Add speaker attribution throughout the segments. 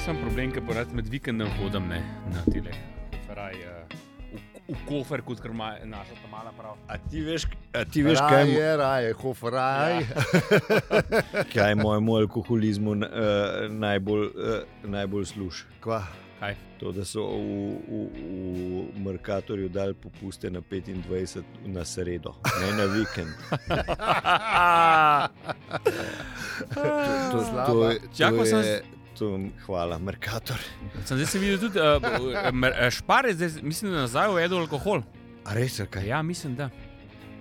Speaker 1: sem problem, ker porad med vikendom hodim ne, na tele. Feraj, uh, v, v kofer, kot kar ima naša ta mala prav.
Speaker 2: A ti veš, a ti veš kaj,
Speaker 3: raje,
Speaker 2: je,
Speaker 3: je, raje, hof, raje. Ja.
Speaker 2: kaj mojemu alkoholizmu uh, najbolj, uh, najbolj služi?
Speaker 3: Kva,
Speaker 1: Kaj?
Speaker 2: To, da so v, v, v Merkatorju dali popuste na 25 na sredo, ne na vikend. To,
Speaker 3: Slaba.
Speaker 2: to, je- to,
Speaker 1: Čakal sem
Speaker 2: je, to, hvala, Merkator.
Speaker 1: Sem zdaj se videl tudi, uh, špar je zdaj, mislim, da nazaj uvedel alkohol.
Speaker 2: A res, ali kaj?
Speaker 1: Ja, mislim, da.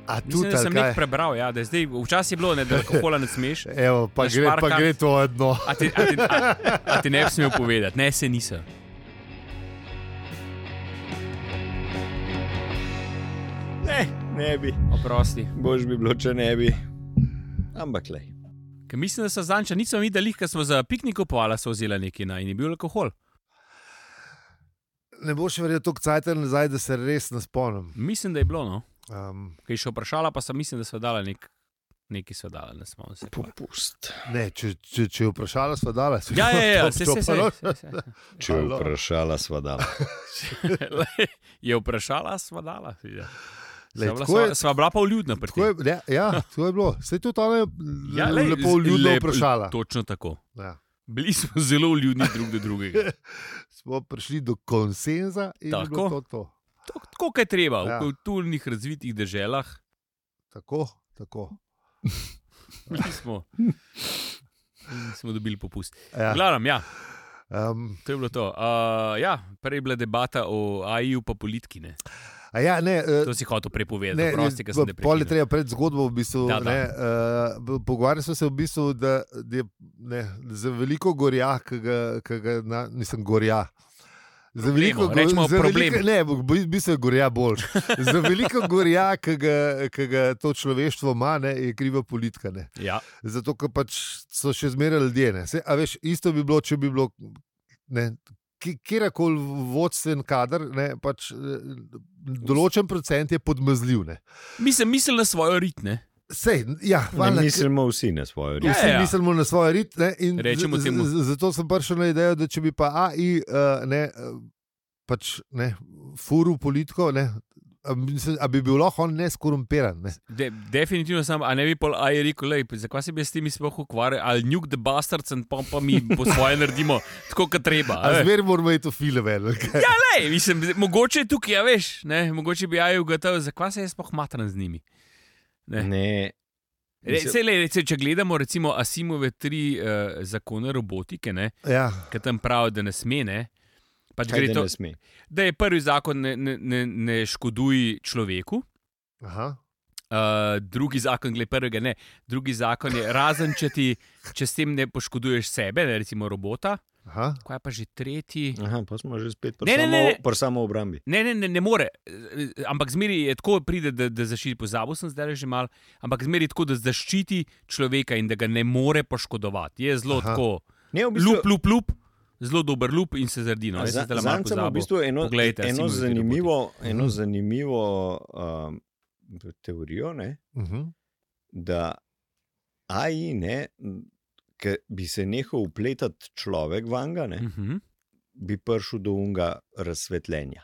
Speaker 3: a
Speaker 1: Mislim,
Speaker 3: tudi
Speaker 1: da sem
Speaker 3: ali kaj?
Speaker 1: nekaj prebral, ja, da je zdaj, včasih je bilo, ne, da alkohola ne smeš.
Speaker 3: Evo, pa
Speaker 1: Na
Speaker 3: gre, pa
Speaker 1: šparkah.
Speaker 3: gre to dno.
Speaker 1: A ti, a ti, a, a ti ne bi smel povedati, ne, se nisem.
Speaker 2: Ne, ne bi.
Speaker 1: Oprosti.
Speaker 2: Bož bi bilo, če ne bi. Ampak le.
Speaker 1: Ker mislim, da so zanča, nisem videl, ker smo za piknik kupovali, so vzela nekaj na in je bil alkohol.
Speaker 3: Ne boš verjel toliko cajt nazaj, da se res ne spomnim.
Speaker 1: Mislim, da je bilo, no.
Speaker 3: Um,
Speaker 1: Kaj je še vprašala, pa sem mislim, da so dala nek, neki so dala, ne spomnim se. kva.
Speaker 2: Popust.
Speaker 3: ne, če, če, če je vprašala, sva dala. sva
Speaker 1: Ja, ja, ja,
Speaker 3: top,
Speaker 1: se
Speaker 3: top,
Speaker 1: se se.
Speaker 3: no.
Speaker 2: Če je
Speaker 3: Halo.
Speaker 2: vprašala, sva dala.
Speaker 1: Je vprašala, sva dala. Ja.
Speaker 3: Lej,
Speaker 1: Sva bila-
Speaker 3: tako je-
Speaker 1: sva- Sva bila pa vljudna pri
Speaker 3: Tako
Speaker 1: tem.
Speaker 3: je, ne, ja, tako je bilo. Se je tudi ona je
Speaker 1: Ja,
Speaker 3: ja,
Speaker 1: lej,
Speaker 3: lepo
Speaker 1: z-
Speaker 3: ljudno
Speaker 1: lep-
Speaker 3: vprašala.
Speaker 1: Točno tako.
Speaker 3: Ja.
Speaker 1: Bili smo zelo vljudni drug do drugega.
Speaker 3: Smo prišli do konsenza in je
Speaker 1: Tako.
Speaker 3: bilo to, to.
Speaker 1: To- Tako, kot je treba v
Speaker 3: Ja.
Speaker 1: kulturnih razvitih deželah.
Speaker 3: Tako, tako.
Speaker 1: Bili smo. In smo dobili popust. Ja.
Speaker 3: Ja.
Speaker 1: Glavno, ja,
Speaker 3: Um,
Speaker 1: to je bilo to. Uh, ja, prej je bila debata o AI-ju, pa politiki. Ne.
Speaker 3: a ja, ne, eh,
Speaker 1: To si hotel prepovedati,
Speaker 3: Ne,
Speaker 1: prosti,
Speaker 3: ne,
Speaker 1: ki sem te
Speaker 3: v- pol je
Speaker 1: prepovedal.
Speaker 3: treba pred zgodbo, v bistvu,
Speaker 1: Da,
Speaker 3: da,
Speaker 1: da.
Speaker 3: da. Ne, uh, pogovarjali smo se v bistvu, da, da je ne, za veliko gorja, ki ga, ki ga na, nisem gorja. Za veliko, go-
Speaker 1: rečemo
Speaker 3: za veliko,
Speaker 1: problem.
Speaker 3: ne, v bistvu je gorja bolj. Za veliko gorja, ki ga, ki ga to človeštvo ima, ne, je kriva politika. Ne.
Speaker 1: Ja,
Speaker 3: Zato, ker pač so še zmeraj ljudje. ne. Se, a veš, isto bi bilo, če bi bilo. Ne, ki- Kjerkoli vodstven kader, ne, pač, eh, določen procent je podmazljiv. Ne.
Speaker 1: mislim, mislim na svojo ritme.
Speaker 3: Sej, ja,
Speaker 2: Ne
Speaker 3: hvala,
Speaker 2: mislimo vsi na svojo
Speaker 1: Ja,
Speaker 2: res.
Speaker 3: Vsi mislimo na svoje rit. Ne, in
Speaker 1: Rečemo
Speaker 3: z- z-
Speaker 1: temu.
Speaker 3: z- Zato sem prišel na idejo, da če bi pa AI, uh, ne, uh, pač ne, furu politiko, ne, a, mislim, a bi bil lahko on neskorumpiran. Ne.
Speaker 1: De, definitivno sem, a ne bi pol AI rekel, lej, zakaj se bi s temi sploh ukvarjal, ali nuke the bastards in pa, pa mi po svoje naredimo tako, kot treba.
Speaker 3: A
Speaker 1: a veš.
Speaker 3: Zmer moramo iti v filme.
Speaker 1: Ja, lej, mislim, mogoče je tukaj, ja, veš, ne, mogoče bi AI ugotovil, zakaj se jaz sploh matram z njimi.
Speaker 2: Ne.
Speaker 1: Re, sej, lej, sej, če gledamo recimo Asimove tri uh, zakone robotike, ne,
Speaker 3: Ja,
Speaker 1: ki tam pravijo, da ne sme, ne, pač
Speaker 2: Kaj
Speaker 1: gre
Speaker 2: da
Speaker 1: to,
Speaker 2: ne sme?
Speaker 1: da je prvi zakon ne, ne, ne, ne škoduj človeku.
Speaker 3: aha.
Speaker 1: Uh, drugi zakon, glede prvega, ne. Drugi zakon je, razen če, ti, če s tem ne poškoduješ sebe, ne, recimo robota.
Speaker 3: aha.
Speaker 1: Kaj pa že tretji?
Speaker 2: Aha, pa smo že spet pri
Speaker 1: Ne, ne, ne, ne.
Speaker 2: samo- pri samo obrambi.
Speaker 1: Ne, ne, ne, ne more. Eh, Ampak zmeri je tako, pride, da, da zaščiti, pozabil sem zdaj že mal, ampak zmeri je tako, da zaščiti človeka in da ga ne more poškodovati. Je zelo
Speaker 3: Aha.
Speaker 1: tako,
Speaker 2: Ne, v bistvu,
Speaker 1: lup, lup, lup, zelo dober lup in se zardi. No, jaz sem zdajle malo
Speaker 2: Zanca ima v
Speaker 1: pozabil.
Speaker 2: bistvu eno,
Speaker 1: Poglejte,
Speaker 2: eno
Speaker 1: Asimoviti
Speaker 2: zanimivo, eno
Speaker 3: Mhm.
Speaker 2: zanimivo um, teorijo, ne,
Speaker 3: Uh -huh.
Speaker 2: da AI, ne, ki bi se nehal upletati človek vanga, ne,
Speaker 1: Mhm.
Speaker 2: bi prišel do unga razsvetljenja,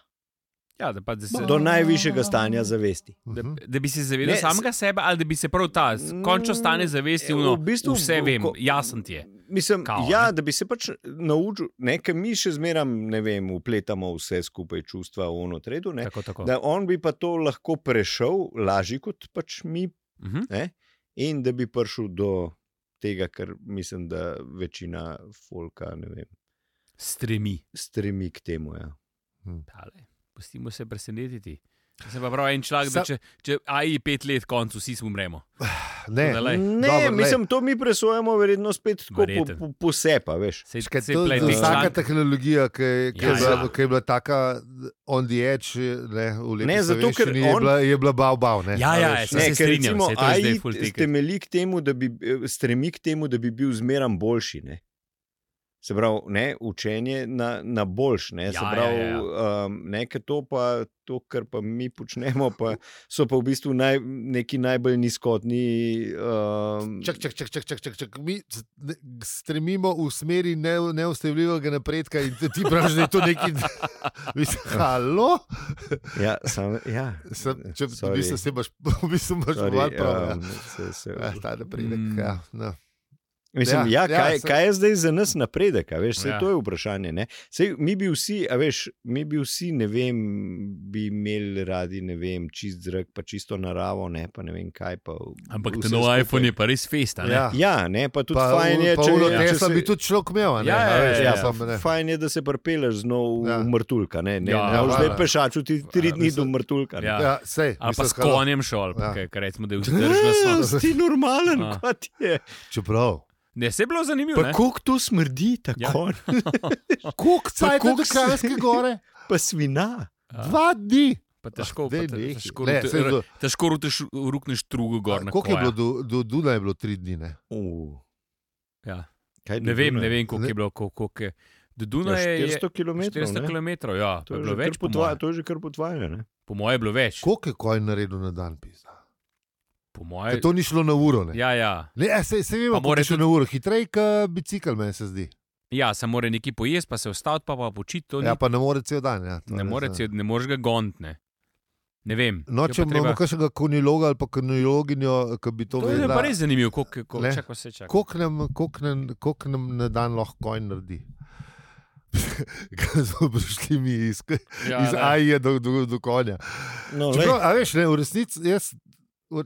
Speaker 1: Ja, da, pa, da, se,
Speaker 2: do najvišjega stanja zavesti.
Speaker 1: da,
Speaker 3: Uh
Speaker 1: da bi se zavedel
Speaker 2: Ne,
Speaker 1: ne, samega sebe, ali da bi se prav ta končno stanje zavesti,
Speaker 2: Mm,
Speaker 1: no,
Speaker 2: v bistvu
Speaker 1: vse
Speaker 2: v-
Speaker 1: vem,
Speaker 2: ko-
Speaker 1: jasen ti je.
Speaker 2: Mislim,
Speaker 1: Kao,
Speaker 2: Kao, ja,
Speaker 1: ne.
Speaker 2: ne? da bi se pač naučil, nekaj mi še zmeraj, ne vem, upletamo vse skupaj čustva v ono tredu. Ne,
Speaker 1: Tako, tako.
Speaker 2: da on bi pa to lahko prešel, lažje kot pač mi,
Speaker 1: Mhm.
Speaker 2: in da bi prišel do tega, kar mislim, da večina folka ne vem,
Speaker 1: Stremi.
Speaker 2: stremi k temu. Ja.
Speaker 1: Tale. Pustimo se presenetiti. Jaz Sem pa prav en človek, da
Speaker 3: Sa-
Speaker 1: če, če AI pet let, koncu vsi umremo.
Speaker 3: Ne,
Speaker 1: Tole. Lej.
Speaker 2: Ne,
Speaker 3: Dobro,
Speaker 2: Dobar,
Speaker 3: lej.
Speaker 2: mislim, to mi presojamo, verjetno spet tako
Speaker 1: Verjetno.
Speaker 2: po, po, posepa, veš.
Speaker 1: Sej,
Speaker 3: Čakaj,
Speaker 1: sej
Speaker 3: to
Speaker 1: plej
Speaker 3: je
Speaker 1: teh
Speaker 3: vsaka
Speaker 1: člankov-
Speaker 3: tehnologija, ki, je- ki,
Speaker 1: Ja,
Speaker 3: ja, je bila,
Speaker 1: ja.
Speaker 3: ja. ki je bila tako on the edge, ne, v lepi
Speaker 2: Ne, zato, ker
Speaker 3: slovenščini je,
Speaker 2: on-
Speaker 3: bila, je bila bav bav. Ne,
Speaker 1: Ja,
Speaker 3: a
Speaker 1: ja,
Speaker 3: veš,
Speaker 1: saj se
Speaker 2: ker
Speaker 1: strinjam,
Speaker 2: recimo
Speaker 1: saj to je zdaj
Speaker 2: AI
Speaker 1: ful tiket.
Speaker 2: temelji k temu, da bi, eh, stremi k temu, da bi bil zmeraj boljši. Ne? Se pravi, ne, učenje na, na boljš, ne,
Speaker 1: Ja,
Speaker 2: se pravi,
Speaker 1: ja,
Speaker 2: Um, ne, ker to, pa, to, kar pa mi počnemo, pa, so pa v bistvu naj, neki najbolj nizkotni. Um,
Speaker 3: Čak, čak, čak, čak, čak, čak, čak. Mi s- ne- stremimo v smeri ne, neustavljivega napredka, in ti ti praviš, da je to nekaj. Mislim, Halo?
Speaker 2: ja, sam, ja.
Speaker 3: Sem, če, v
Speaker 2: Sorry.
Speaker 3: bistvu se imaš, v bistvu imaš
Speaker 2: Sorry,
Speaker 3: malo prav. Ja.
Speaker 2: um, se- se-
Speaker 3: Ja, ta napredek.
Speaker 1: Mm.
Speaker 3: Ja, no.
Speaker 2: Mislim, ja, ja,
Speaker 3: ja,
Speaker 2: kaj,
Speaker 3: se-
Speaker 2: kaj je zdaj za nas napredek? a Veš,
Speaker 1: Ja.
Speaker 2: ja. To je vprašanje. ne. Sej, mi bi vsi, a veš, mi bi vsi, ne vem, bi imeli radi ne vem, čist zrak, pa čisto naravo, ne, pa ne vem kaj. Pa, v-
Speaker 1: Ampak
Speaker 2: vse
Speaker 1: ta nov
Speaker 2: skupaj.
Speaker 1: iPhone je pa res festa. ne?
Speaker 3: Ja.
Speaker 2: Ja, ne, pa tudi
Speaker 3: Pa,
Speaker 2: fajn je,
Speaker 3: pa
Speaker 2: če,
Speaker 3: ulo
Speaker 2: ja, če
Speaker 3: Tesla bi tudi človek imel. a Ne,
Speaker 1: Ja,
Speaker 3: A
Speaker 1: ja,
Speaker 3: veš,
Speaker 1: ja, ja.
Speaker 3: ja, sam, ne.
Speaker 2: Fajn je, da se prepeleš znov
Speaker 3: Ja.
Speaker 2: v Mrtulka. Ne, ne,
Speaker 1: Ja,
Speaker 2: ja, ne,
Speaker 3: hvala.
Speaker 2: zdaj pešaču ti tri
Speaker 3: Ja,
Speaker 2: dni do
Speaker 3: mislim-
Speaker 2: Mrtulka. ne.
Speaker 1: Ja.
Speaker 3: Ja, sej,
Speaker 1: Ali pa
Speaker 3: mislim,
Speaker 1: s
Speaker 3: halo.
Speaker 1: konjem šel,
Speaker 3: Ja.
Speaker 1: ja. ker recimo, da je vzdržna stvar.
Speaker 2: Ja, Si normalen,
Speaker 1: A.
Speaker 2: kot je.
Speaker 3: Čeprav.
Speaker 1: Ne, se je bilo zanimivo.
Speaker 2: Pa
Speaker 1: ne?
Speaker 2: kako to smrdi,
Speaker 1: Ja.
Speaker 2: tako. Ja.
Speaker 3: Kuk cajt
Speaker 2: koliko
Speaker 3: do
Speaker 2: se-
Speaker 3: Kranjske gore?
Speaker 2: Pa svina.
Speaker 1: Ja.
Speaker 3: Dva dni.
Speaker 1: Pa težko, pa
Speaker 3: Daj,
Speaker 1: te-
Speaker 3: nehaj.
Speaker 1: težko,
Speaker 3: Ne,
Speaker 1: rute-
Speaker 3: saj do-
Speaker 1: težko ruteš, rukneš drugo gor. na
Speaker 3: Koliko je
Speaker 1: koja.
Speaker 3: bilo do, do Dunaja? Je bilo tri dni. Ne?
Speaker 2: Uh.
Speaker 1: Ja.
Speaker 2: Kaj bi
Speaker 1: Ne vem,
Speaker 2: bilo,
Speaker 1: ne vem, koliko
Speaker 3: Ne.
Speaker 1: je bilo. Koliko, koliko je. Do
Speaker 2: Ja,
Speaker 1: Dunaja je
Speaker 2: 400 km.
Speaker 1: 400 km. Ja, to je bilo več. Po moje,
Speaker 2: To je že kar potvajanje.
Speaker 1: po moje je bilo več.
Speaker 3: Koliko je koj naredil na dan? Pizda?
Speaker 1: Po
Speaker 3: Ker
Speaker 1: moje,
Speaker 3: To ni šlo na uro. Ne?
Speaker 1: ja, ja.
Speaker 3: Ne, a se, se
Speaker 1: Pa
Speaker 3: vemo, kako
Speaker 1: more
Speaker 3: je šlo na uro. Hitrej, kot bicikl, meni se zdi.
Speaker 1: ja, samo mora nekaj pojesti, pa se vstaviti, pa, pa počiti. To ni-
Speaker 3: Ja, pa ne more cel dan. Ja, to
Speaker 1: Ne
Speaker 3: res,
Speaker 1: moreš,
Speaker 3: ja.
Speaker 1: ne moreš ga gontne. Ne vem.
Speaker 3: No,
Speaker 1: je
Speaker 3: če
Speaker 1: pa
Speaker 3: imamo kakšnega konjiloga ali pa konjiloginjo, ki bi to
Speaker 1: To je pa
Speaker 3: vedela,
Speaker 1: res zanimivo, koliko kol,
Speaker 3: Ne.
Speaker 1: čaka se čaka.
Speaker 3: koliko nam, koliko nam- koliko nam na dan lahko koj naredi. Kaj smo prišli mi iz,
Speaker 1: Ja,
Speaker 3: iz
Speaker 1: ne.
Speaker 3: Aije do, do, do konja.
Speaker 2: No,
Speaker 3: Čeprav, a veš, ne, v resnici jaz, v-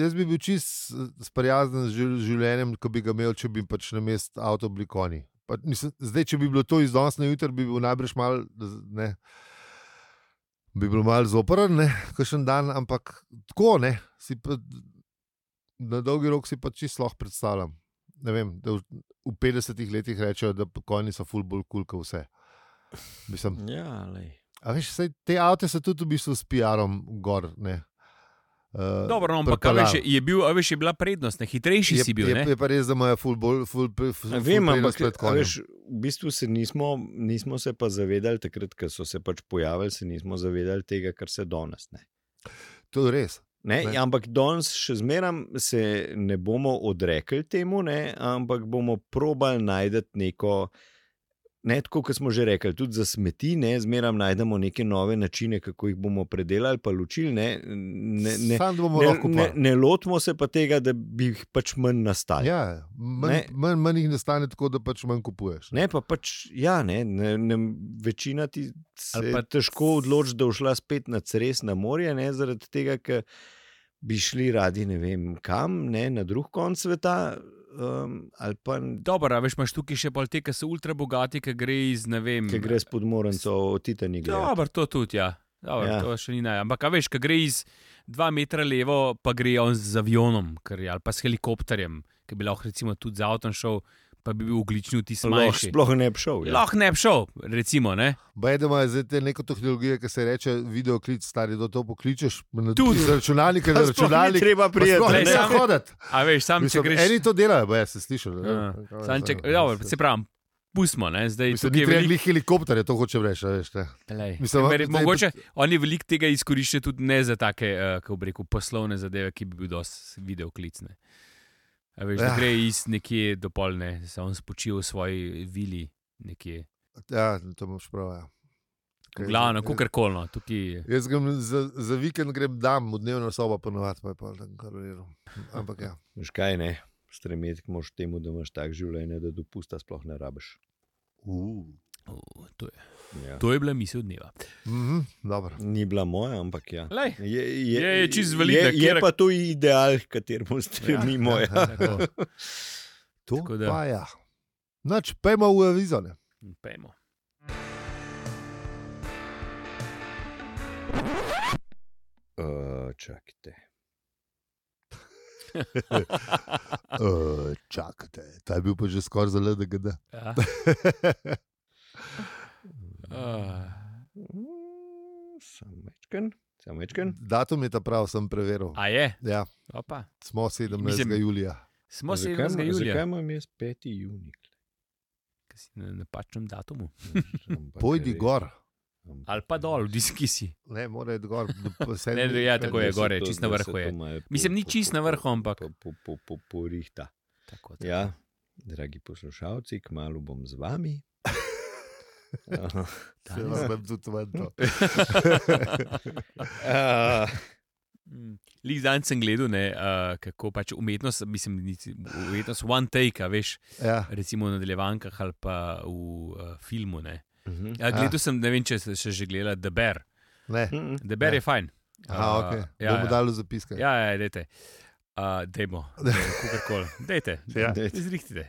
Speaker 3: jaz bi bil čist sprijazen z živl- življenjem, ki bi ga imel, če bi pač na mest avto bili konji. Pa, mislim, zdaj, če bi bilo to iz danes na jutro, bi bil najbrž mal. z- Ne, Bi bilo malo zoprn, kakšen dan, ampak tako ne. si Pa, na dolgi rok si pa čisto lahko predstavljam. Ne Vem, da v, v 50 letih rečejo, da konji so ful bolj kul, cool, kot vse. Mislim,
Speaker 2: ja, lej.
Speaker 3: A veš, saj, te avto so tudi v bistvu s PR-om gor. ne. Eh,
Speaker 1: Dobro, no, ampak a veš,
Speaker 3: pripeljali.
Speaker 1: je- je, bil, a veš, je bila prednost, ne? hitrejši
Speaker 3: je,
Speaker 1: si bil.
Speaker 3: je,
Speaker 1: ne?
Speaker 3: je pa res, da imajo fulbol, fulbol,
Speaker 2: A
Speaker 3: fulbol.
Speaker 2: Vem, ampak a veš, v bistvu se nismo, nismo se pa zavedali, takrat, ko so se pač pojavili, se nismo zavedali tega, kar se danes. Ne?
Speaker 3: To je res.
Speaker 2: Ne?
Speaker 3: Ne.
Speaker 2: Ampak danes še zmeraj se ne bomo odrekli temu, ne? ampak bomo probali najti neko. Ne, tako kot smo že rekli, tudi za smeti, ne, zmeraj najdemo neke nove načine, kako jih bomo predelali, pa ločili. Ne, ne, ne,
Speaker 3: Sam bomo
Speaker 2: ne,
Speaker 3: lahko
Speaker 2: ne,
Speaker 3: kupili.
Speaker 2: ne lotimo se pa tega, da bi jih pač manj nastali. Ja.
Speaker 3: Ja,
Speaker 2: Ne.
Speaker 3: manj, manj, manj jih nastane tako, da pač manj kupuješ.
Speaker 2: Ne, pa pač, ja, ne, ne, ne, večina ti
Speaker 1: Ali
Speaker 2: se
Speaker 1: pa-
Speaker 2: pa... težko odloči, da šla spet na res na morje, ne, zaradi tega, ker bi šli radi ne vem kam, ne, na drug konc sveta. Um, ali pa
Speaker 1: Dobro, a veš, imaš tukaj še pol te, ki so ultra bogati, ki gre iz ne vem.
Speaker 2: ki gre s podmorenco od Titanika.
Speaker 1: Dobro, to tudi, ja. Dobro, ja.
Speaker 2: Ja.
Speaker 1: To še ni naj. Ampak, a veš, ki gre iz dva metra levo, pa gre on z avionom kar je, ali pa s helikopterjem, ki bi lahko recimo tudi z avtom šel, pa bi bil oglični vtis
Speaker 2: Sploh,
Speaker 1: manjši.
Speaker 2: sploh ne bi šel. Ja.
Speaker 1: Lahko ne bi šel, recimo. Ne?
Speaker 3: Bajdemo je zdaj te neko tehnologijo, ki se reče videoklic, stari do to pokličeš, na
Speaker 1: Tudi.
Speaker 3: z računalnika,
Speaker 2: Pa
Speaker 3: na
Speaker 2: sploh ni
Speaker 3: računalnik.
Speaker 2: treba
Speaker 3: pa Sploh
Speaker 1: ne,
Speaker 3: ne
Speaker 2: prijeti.
Speaker 3: gre
Speaker 1: samo-
Speaker 3: hoditi.
Speaker 1: A veš, sam če
Speaker 3: Mislim,
Speaker 1: greš.
Speaker 3: Eni to delajo, bo jaz sem slišal. ne.
Speaker 1: Ja.
Speaker 3: Kaj
Speaker 1: Sam, če,
Speaker 3: vem,
Speaker 1: dobro,
Speaker 3: mislim.
Speaker 1: se pravi, pustimo. Ne? Zdaj,
Speaker 3: Mislim,
Speaker 1: tukaj
Speaker 3: ni
Speaker 1: je
Speaker 3: treba
Speaker 1: veliko-
Speaker 3: glih helikopterje, to hočem reči. a Veš, ne.
Speaker 1: Glej,
Speaker 3: Mislim,
Speaker 1: meri-
Speaker 3: zdaj-
Speaker 1: Mogoče oni veliko tega izkoriščajo tudi ne za take, uh, kako bi rekel, poslovne zadeve, ki bi bil dosti videoklicne. A veš, da
Speaker 3: Ja.
Speaker 1: gre iz nekje do polne, se on spočil v svoji vili, nekje.
Speaker 3: Ja, to imaš prav. Ja. Kaj
Speaker 1: Glavno,
Speaker 3: zdaj- ja.
Speaker 1: kako koli, no, tukaj je.
Speaker 3: Jaz grem za, za vikend grem dam, v dnevno sobo ponovadi, pa je pa tam karoliral. Ampak ja.
Speaker 2: Veš kaj ne, stremeti moš temu, da imaš tak življenje, da dopusta sploh ne rabiš.
Speaker 3: Uh.
Speaker 1: O, To, je-
Speaker 2: Ja.
Speaker 1: to je bila misel dneva.
Speaker 3: Mhm, dobro.
Speaker 2: Ni bila moja, ampak ja.
Speaker 1: Lej,
Speaker 2: Je,
Speaker 1: Je- je čisto validna,
Speaker 2: je, je
Speaker 1: kjer-
Speaker 2: pa to ideal, h kateremu stremimo. Ja, ja.
Speaker 1: tako,
Speaker 3: To
Speaker 1: Tako da-
Speaker 3: pa ja. Noč, pejmo v avizone.
Speaker 1: pejmo.
Speaker 2: Uh, čakajte.
Speaker 3: Uh, čakajte, ta je bil pa že skoraj za LDGD.
Speaker 1: Ja. Ah,
Speaker 2: Mm, Samečken, samečken.
Speaker 3: Datum je ta prav, sem preveril.
Speaker 1: A je,
Speaker 3: Ja,
Speaker 1: opa.
Speaker 3: smo 17.
Speaker 1: Mislim-
Speaker 3: julija.
Speaker 1: Smo 17. julija,
Speaker 2: Zakaj imam jaz 5. junij?
Speaker 1: ker si na napačnem datumu.
Speaker 3: Pojdi gor,
Speaker 1: Ali pa dol, v diski si.
Speaker 3: ne more iti gor. do sedmi-
Speaker 1: Ne, ne, ja, tako je.
Speaker 3: petdeset-
Speaker 1: gore, čisto na vrhu je. Mislim, ni čisto na vrhu, ampak-
Speaker 2: Porihta.
Speaker 1: Tako, tako.
Speaker 2: Ja, dragi poslušalci, kmalo bom z vami.
Speaker 3: Se
Speaker 1: Danes-
Speaker 3: vas bom tudi ven to.
Speaker 2: Ah,
Speaker 3: Ja.
Speaker 1: Mm. Lih dan sem gledal, ne, uh, kako pač umetnost, mislim, ni- umetnost one take, a veš,
Speaker 3: Ja.
Speaker 1: recimo v nadaljevankah ali pa v uh, filmu. Ne.
Speaker 2: mhm.
Speaker 1: Ja, gledal sem, ne vem, če si še že gledala The Bear.
Speaker 3: Ne.
Speaker 2: Mhm.
Speaker 1: The Bear
Speaker 3: Ja.
Speaker 1: je fajn.
Speaker 3: Aha,
Speaker 1: Uh,
Speaker 3: ok.
Speaker 1: ja,
Speaker 3: Bomo
Speaker 1: ja.
Speaker 3: dali zapiske.
Speaker 1: Ja, ja, dajte. Uh, dajmo, kakorkoli. Dajte,
Speaker 3: Ja.
Speaker 2: Dajte.
Speaker 1: zrihtite.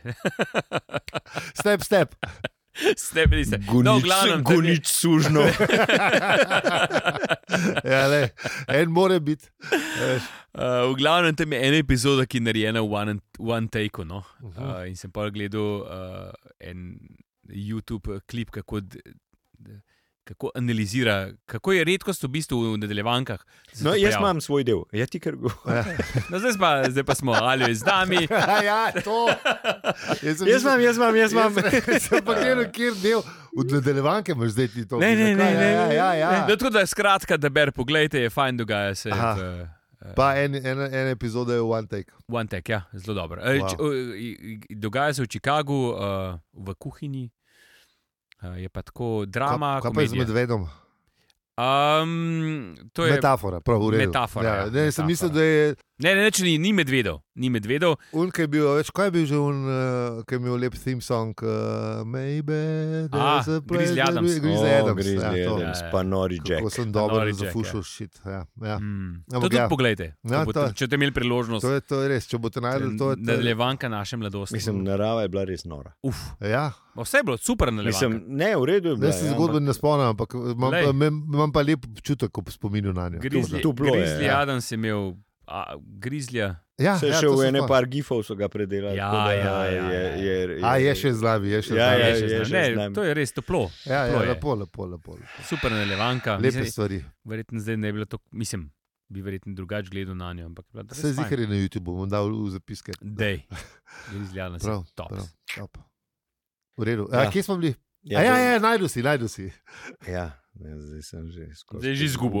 Speaker 3: Step, step.
Speaker 1: Stepili ste. No, v
Speaker 2: Gonič,
Speaker 1: glavnem, tam je-
Speaker 2: gonič sužno.
Speaker 3: Ja, le. En more biti. A veš.
Speaker 1: Uh, v glavnem tam je ena epizoda, ki je narejena v one, one take. No? Uh, in sem pa gledal uh, en YouTube eh, klip, kako, d- d- kako analizira, kako je redkost v bistvu v nadaljevankah. da se
Speaker 2: No,
Speaker 1: to
Speaker 2: jaz
Speaker 1: pojavi.
Speaker 2: imam svoj del, ja ti kar govoriš.
Speaker 1: No, zdaj, pa, zdaj pa smo ali z nami.
Speaker 3: Ja, to. Jaz sem
Speaker 2: Jaz
Speaker 3: mislil-
Speaker 2: imam, jaz imam, jaz imam.
Speaker 3: Jaz sem pa gledal, kjer del od nadaljevanke imaš zdaj ti to.
Speaker 1: Ne, ne, ne.
Speaker 3: Ja,
Speaker 1: ne,
Speaker 3: ja, ja,
Speaker 1: ne.
Speaker 3: ja.
Speaker 1: No, tako da skratka, da ber, poglejte, je fajn, dogaja se.
Speaker 3: Aha.
Speaker 1: V,
Speaker 3: Pa en, en, en epizoda je v One Take.
Speaker 1: One Tech, ja, zelo dobro.
Speaker 3: Wow.
Speaker 1: Wow. Č, o, i- i- dogaja se v Chicagu, uh, v kuhinji, uh, je pa tako drama.
Speaker 3: kaj pa je z
Speaker 1: komedija.
Speaker 3: medvedom?
Speaker 1: um, to je,
Speaker 3: Metafora, prav v redu.
Speaker 1: Metafora,
Speaker 3: Ja,
Speaker 1: ja,
Speaker 3: ne,
Speaker 1: metafora.
Speaker 3: Sem mislil, da je
Speaker 1: ne, ne, ne, če ni, ni medvedov, ni medvedov.
Speaker 3: Unkaj bil, več, kaj je bil že un, uh, ki je imel lep theme song, uh, maybe there's
Speaker 1: Ah,
Speaker 3: a place
Speaker 1: Grizzly
Speaker 3: that
Speaker 1: Adams.
Speaker 3: we- Grizzly
Speaker 2: O,
Speaker 3: Adams.
Speaker 2: Grizzly
Speaker 3: ja, to.
Speaker 2: Adams,
Speaker 1: Ja, ja.
Speaker 2: pa nori Jack.
Speaker 3: Kako sem dobro
Speaker 1: Nori Jack,
Speaker 3: zafušil šit. Ja, ja.
Speaker 1: Mm. To
Speaker 3: Ampak
Speaker 1: tudi
Speaker 3: ja.
Speaker 1: ja. poglejte,
Speaker 3: Ja,
Speaker 1: ja, bo,
Speaker 3: to je.
Speaker 1: to, če ste imeli priložnost.
Speaker 3: To, je, to je res, če boste najdel to. Je, to je,
Speaker 1: Nadaljevanka naše mladosti.
Speaker 2: Mislim, narava je bila res nora.
Speaker 1: Uf,
Speaker 3: ja.
Speaker 1: vse je bilo super na
Speaker 2: Mislim, ne, v redu je ja, bilo.
Speaker 3: Jaz se zgodbe ne spomnim, ampak eh, imam,
Speaker 1: Glej.
Speaker 3: pa- mem- imam pa lep občutek ob spominu na njo.
Speaker 2: ja,
Speaker 1: Grizzly,
Speaker 2: Duplo je,
Speaker 1: Grizzly
Speaker 2: ja.
Speaker 1: Adam je imel, a, Grizzlja.
Speaker 3: Ja,
Speaker 2: Se je
Speaker 3: ja,
Speaker 2: še
Speaker 3: to
Speaker 2: v
Speaker 3: se
Speaker 2: ene
Speaker 3: spomnim.
Speaker 2: par gifov so ga predelali.
Speaker 1: Ja,
Speaker 2: tako da
Speaker 1: ja, ja,
Speaker 2: je-
Speaker 1: ja.
Speaker 2: je-
Speaker 3: A je še zlabi, je še
Speaker 2: Ja,
Speaker 1: Ja,
Speaker 3: zlabi.
Speaker 2: ja,
Speaker 1: je,
Speaker 2: je,
Speaker 1: je,
Speaker 2: še z
Speaker 1: ne,
Speaker 2: nami.
Speaker 1: to je res toplo,
Speaker 3: ja, ja,
Speaker 1: Toplo je.
Speaker 3: lepo, lepo, lepo.
Speaker 1: super nadaljevanka.
Speaker 3: Lepe
Speaker 1: Mislim,
Speaker 3: stvari.
Speaker 1: Verjetno zdaj ne bi bilo tako, mislim, bi verjetno drugače gledal na njo. Ampak, bila res
Speaker 3: Vse
Speaker 1: fajn.
Speaker 3: zikar je na YouTube, bom dal v zapiske.
Speaker 1: Dej, izgledano se
Speaker 3: Prav,
Speaker 1: top.
Speaker 3: prav, top. V redu.
Speaker 2: Ja.
Speaker 3: Ja. Kje smo bili?
Speaker 2: Ja,
Speaker 3: Ja, ja,
Speaker 2: to-
Speaker 3: ja, najdu si, najdu si.
Speaker 2: ja, ne, zdaj sem že skoraj.
Speaker 1: Zdaj že izgubo.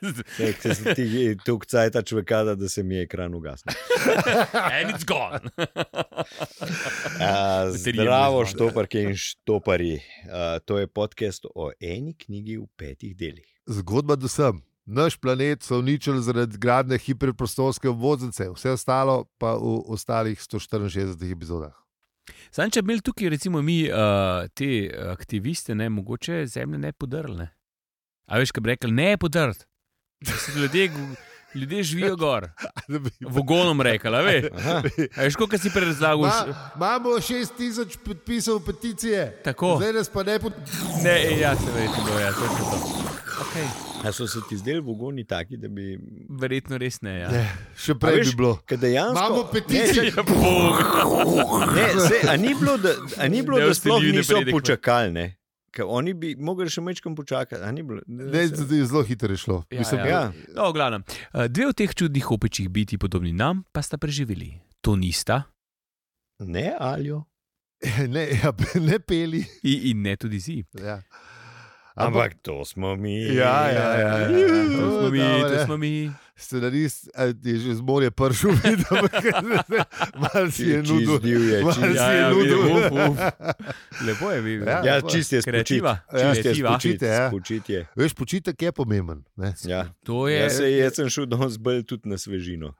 Speaker 2: Zdaj, ker sem ti tukaj cajt čvekada, da se mi je ekran ugasnil.
Speaker 1: And it's gone.
Speaker 2: A,
Speaker 1: Baterije
Speaker 2: Zdravo,
Speaker 1: bojo zmanjkalo.
Speaker 2: štoparke in štoparji. A, To je podcast o eni knjigi v petih delih.
Speaker 3: Zgodba do sem. Naš planet so uničili zaradi gradnje hiperprostorske obvoznice, vse ostalo pa v ostalih 164 epizodah.
Speaker 1: Sam če bi imeli tukaj, recimo, mi uh, te aktiviste, ne, mogoče zemlje ne podrle. A veš, kaj bi rekli, ne podrt. Ljudje, gu- ljudje živijo gor, v gonom rekli, a veš. A veš, koliko si prerazlagal?
Speaker 3: Ma,
Speaker 1: Ma...
Speaker 3: imamo 6000 podpisov peticije,
Speaker 1: Tako.
Speaker 3: zdaj nas pa ne pod.
Speaker 1: Ne, ja, se verjetno bo, ja, to je to. Okay.
Speaker 2: A so se ti zdeli vogoni taki, da bi.
Speaker 1: Verjetno res ne, ja.
Speaker 3: Ne, še
Speaker 2: A
Speaker 3: prej
Speaker 2: veš,
Speaker 3: bi bilo.
Speaker 2: ke Dejansko,
Speaker 3: Imamo peticijo.
Speaker 2: Ne,
Speaker 1: Ja, Bog.
Speaker 2: ne, se, a ni bilo, da, a ni bilo,
Speaker 1: Ne
Speaker 2: da
Speaker 1: boste
Speaker 2: sploh
Speaker 1: ljudi
Speaker 2: niso
Speaker 1: napredek, ne.
Speaker 2: počakali. Ne? Ker oni bi mogli še mečkam počakati. a ni bilo?
Speaker 3: Ne, zdaj je zelo hitro je šlo.
Speaker 1: Ja,
Speaker 3: Mislim,
Speaker 2: Ja,
Speaker 1: No, v glavnem. Eh, Dve od teh čudnih opečih biti podobni nam, pa sta preživeli. To nista
Speaker 2: ne, alijo.
Speaker 3: Ne, ja, ne peli.
Speaker 1: in, in ne tudi zi.
Speaker 3: Ja.
Speaker 2: Ampak to smo mi.
Speaker 3: Ja, ja, ja, ja.
Speaker 2: Juhu.
Speaker 1: To smo mi,
Speaker 3: Dobro,
Speaker 1: to
Speaker 3: ja.
Speaker 1: smo mi.
Speaker 3: scenarist a, je že z morja pršil, malo si je
Speaker 2: Čisto
Speaker 3: nudil.
Speaker 2: divje,
Speaker 3: Malo
Speaker 2: čisto-
Speaker 3: si
Speaker 1: Ja,
Speaker 3: je
Speaker 1: ja,
Speaker 3: nudil.
Speaker 1: vidim, uf, uf. Lepo je videti.
Speaker 3: Ja.
Speaker 2: Ja, čist je spočit.
Speaker 1: Kreativa.
Speaker 2: Čist je
Speaker 1: Kreativa.
Speaker 2: spočit,
Speaker 3: Spočite, ja.
Speaker 2: spočit je.
Speaker 3: Veš, počitek je pomemben. Ne?
Speaker 2: Ja.
Speaker 1: To je.
Speaker 2: Jaz, se, jaz sem šel danes bolj tudi na svežino.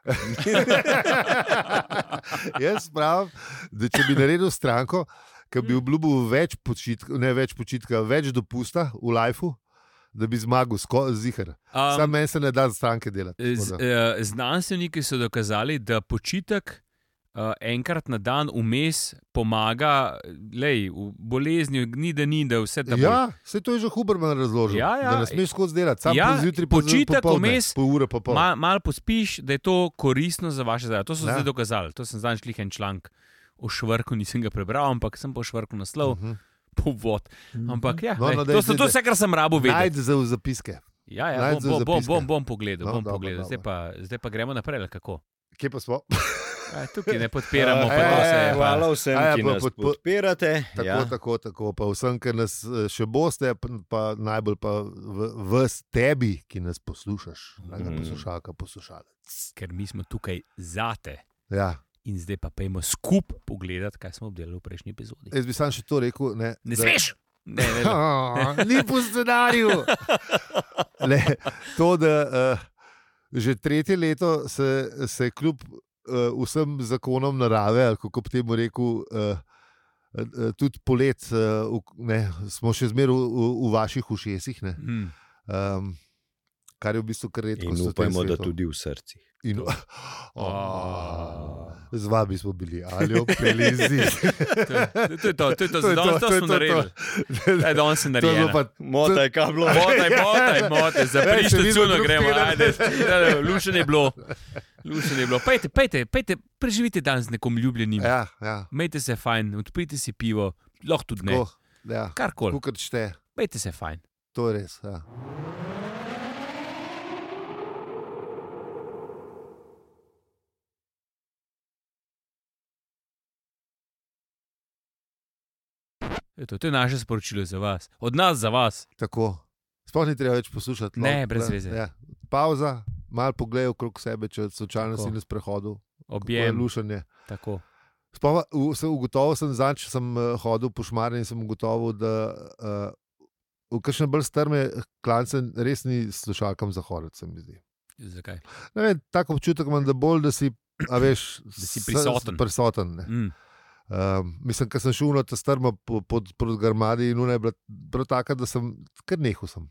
Speaker 3: Jaz pravim, da če bi naredil stranko, ki bi obljubil več počitka, ne več počitka, več dopusta v lifeu, da bi zmagal, zihar. Um, Sam
Speaker 1: Um,
Speaker 3: meni se ne da stranke delati.
Speaker 1: z,
Speaker 3: tako da.
Speaker 1: eh, znanstveniki so dokazali, da počitek eh, enkrat na dan vmes pomaga, lej, v bolezni, ni da ni, da vse da bo.
Speaker 3: Ja, se to je že Huberman razložil.
Speaker 1: Ja, ja.
Speaker 3: Da ne smeš skozi delati, samo
Speaker 1: Ja,
Speaker 3: ja, zjutraj pa
Speaker 1: počitek
Speaker 3: popoldne,
Speaker 1: vmes,
Speaker 3: pol ure pa pol.
Speaker 1: Mal, mal pospiš, da je to koristno za vaše zdravje. To so
Speaker 3: Ja.
Speaker 1: ja. zdaj dokazali. To sem zdaj šli en članek o švrku, nisem ga prebral, ampak sem po švrku naslov.
Speaker 3: Mhm.
Speaker 1: Povod. Ampak, ja, no,
Speaker 3: No, no,
Speaker 1: no,
Speaker 3: daj,
Speaker 1: to so
Speaker 3: daj,
Speaker 1: to
Speaker 3: daj.
Speaker 1: vse, kar sem rabo vedel.
Speaker 3: Najdi za v zapiske.
Speaker 1: Ja, ja,
Speaker 3: najdi za
Speaker 1: bom, bom, bom,
Speaker 3: zapiske.
Speaker 1: bom, bom pogledal. No,
Speaker 3: No,
Speaker 1: bom
Speaker 3: dobro,
Speaker 1: pogledal. Zdaj,
Speaker 3: dobro.
Speaker 1: pa, zdaj pa gremo naprej. ali Kako?
Speaker 3: Kje pa smo?
Speaker 1: A, tukaj ne podpiramo, pa
Speaker 3: Ja,
Speaker 1: to vse.
Speaker 3: ja,
Speaker 1: pa-
Speaker 2: Hvala vsem,
Speaker 3: A ja,
Speaker 2: ki
Speaker 3: pa
Speaker 2: nas
Speaker 3: podpo-
Speaker 2: podpirate.
Speaker 3: Tako,
Speaker 2: Ja.
Speaker 3: ja. tako, tako, pa vsem, ki nas eh, še boste, pa, pa najbolj pa v, v tebi, ki nas poslušaš, mm.
Speaker 1: Mhm.
Speaker 2: Mm.
Speaker 3: poslušalka, poslušalec.
Speaker 1: Ker mi smo tukaj zate.
Speaker 3: Ja.
Speaker 1: In zdaj pa pojmo skupaj pogledati, kaj smo obdelali v prejšnji epizodi.
Speaker 3: Jaz bi sam še to rekel. Ne,
Speaker 1: Ne
Speaker 3: da-
Speaker 1: smeš! Ne, ne, ne.
Speaker 3: Ni po scenariju. Ne, to, da uh, že tretje leto se, se kljub uh, vsem zakonom narave, ali kako bi temu rekel, uh, tudi polet, uh, ne, smo še zmeraj v, v, v vaših ušesih. Ne,
Speaker 1: Mm.
Speaker 3: um, kar je v bistvu kar redko.
Speaker 2: In upajmo, da tudi v srcih.
Speaker 3: In, oh,
Speaker 1: Oh.
Speaker 3: z vami smo bili, ali opeli zid.
Speaker 1: To je- to je to, to je to,
Speaker 3: To je
Speaker 1: za danes to
Speaker 3: to, to je
Speaker 1: smo
Speaker 3: to, to.
Speaker 1: naredili. To je danes
Speaker 3: To je bilo
Speaker 1: naredili.
Speaker 3: pa
Speaker 2: Mota je kablo.
Speaker 1: Motaj, motaj, motaj, za
Speaker 3: Ej, se
Speaker 1: prišlo
Speaker 3: vidimo
Speaker 1: cuno
Speaker 3: drug
Speaker 1: gremo,
Speaker 3: teden.
Speaker 1: ajde, Ja, lušen je bilo. Lušen je bilo. Pejte, pejte, pejte, preživite dan z nekom ljubljenim.
Speaker 3: Ja, ja.
Speaker 1: Mejte se fajn, odprite si pivo, lahko tudi ne.
Speaker 3: Tako, ja.
Speaker 1: Karkoli,
Speaker 3: Kukar čte,
Speaker 1: mejte se fajn.
Speaker 3: to je res. Ja.
Speaker 1: Eto, to je naše sporočilo za vas, od nas za vas.
Speaker 3: Tako. Sploh ni treba več poslušati.
Speaker 1: Ne,
Speaker 3: lahko-
Speaker 1: brez veze.
Speaker 3: Ja. Pauza, malo pogled okrog sebe, če slučajno
Speaker 1: Tako.
Speaker 3: si na sprehodu, kako je
Speaker 1: Objem,
Speaker 3: lušenje.
Speaker 1: tako.
Speaker 3: Sploh, v, se, ugotovil sem zadnjič, če sem eh, hodil po šmarju in sem ugotovil, da uh, v kakšne bolj strme klance res ni slušalkam za horec. se mi zdi.
Speaker 1: Zakaj?
Speaker 3: Ne vem, Tako občutek imam, da bolj, da si, a veš,
Speaker 1: Da si
Speaker 3: s-
Speaker 1: prisoten.
Speaker 3: prisoten ne.
Speaker 1: Mm.
Speaker 3: Um, mislim, ker sem šel na ta strma pod, pod, pod Grmadi in ona je bila prav taka, da sem kar nehal. Sem.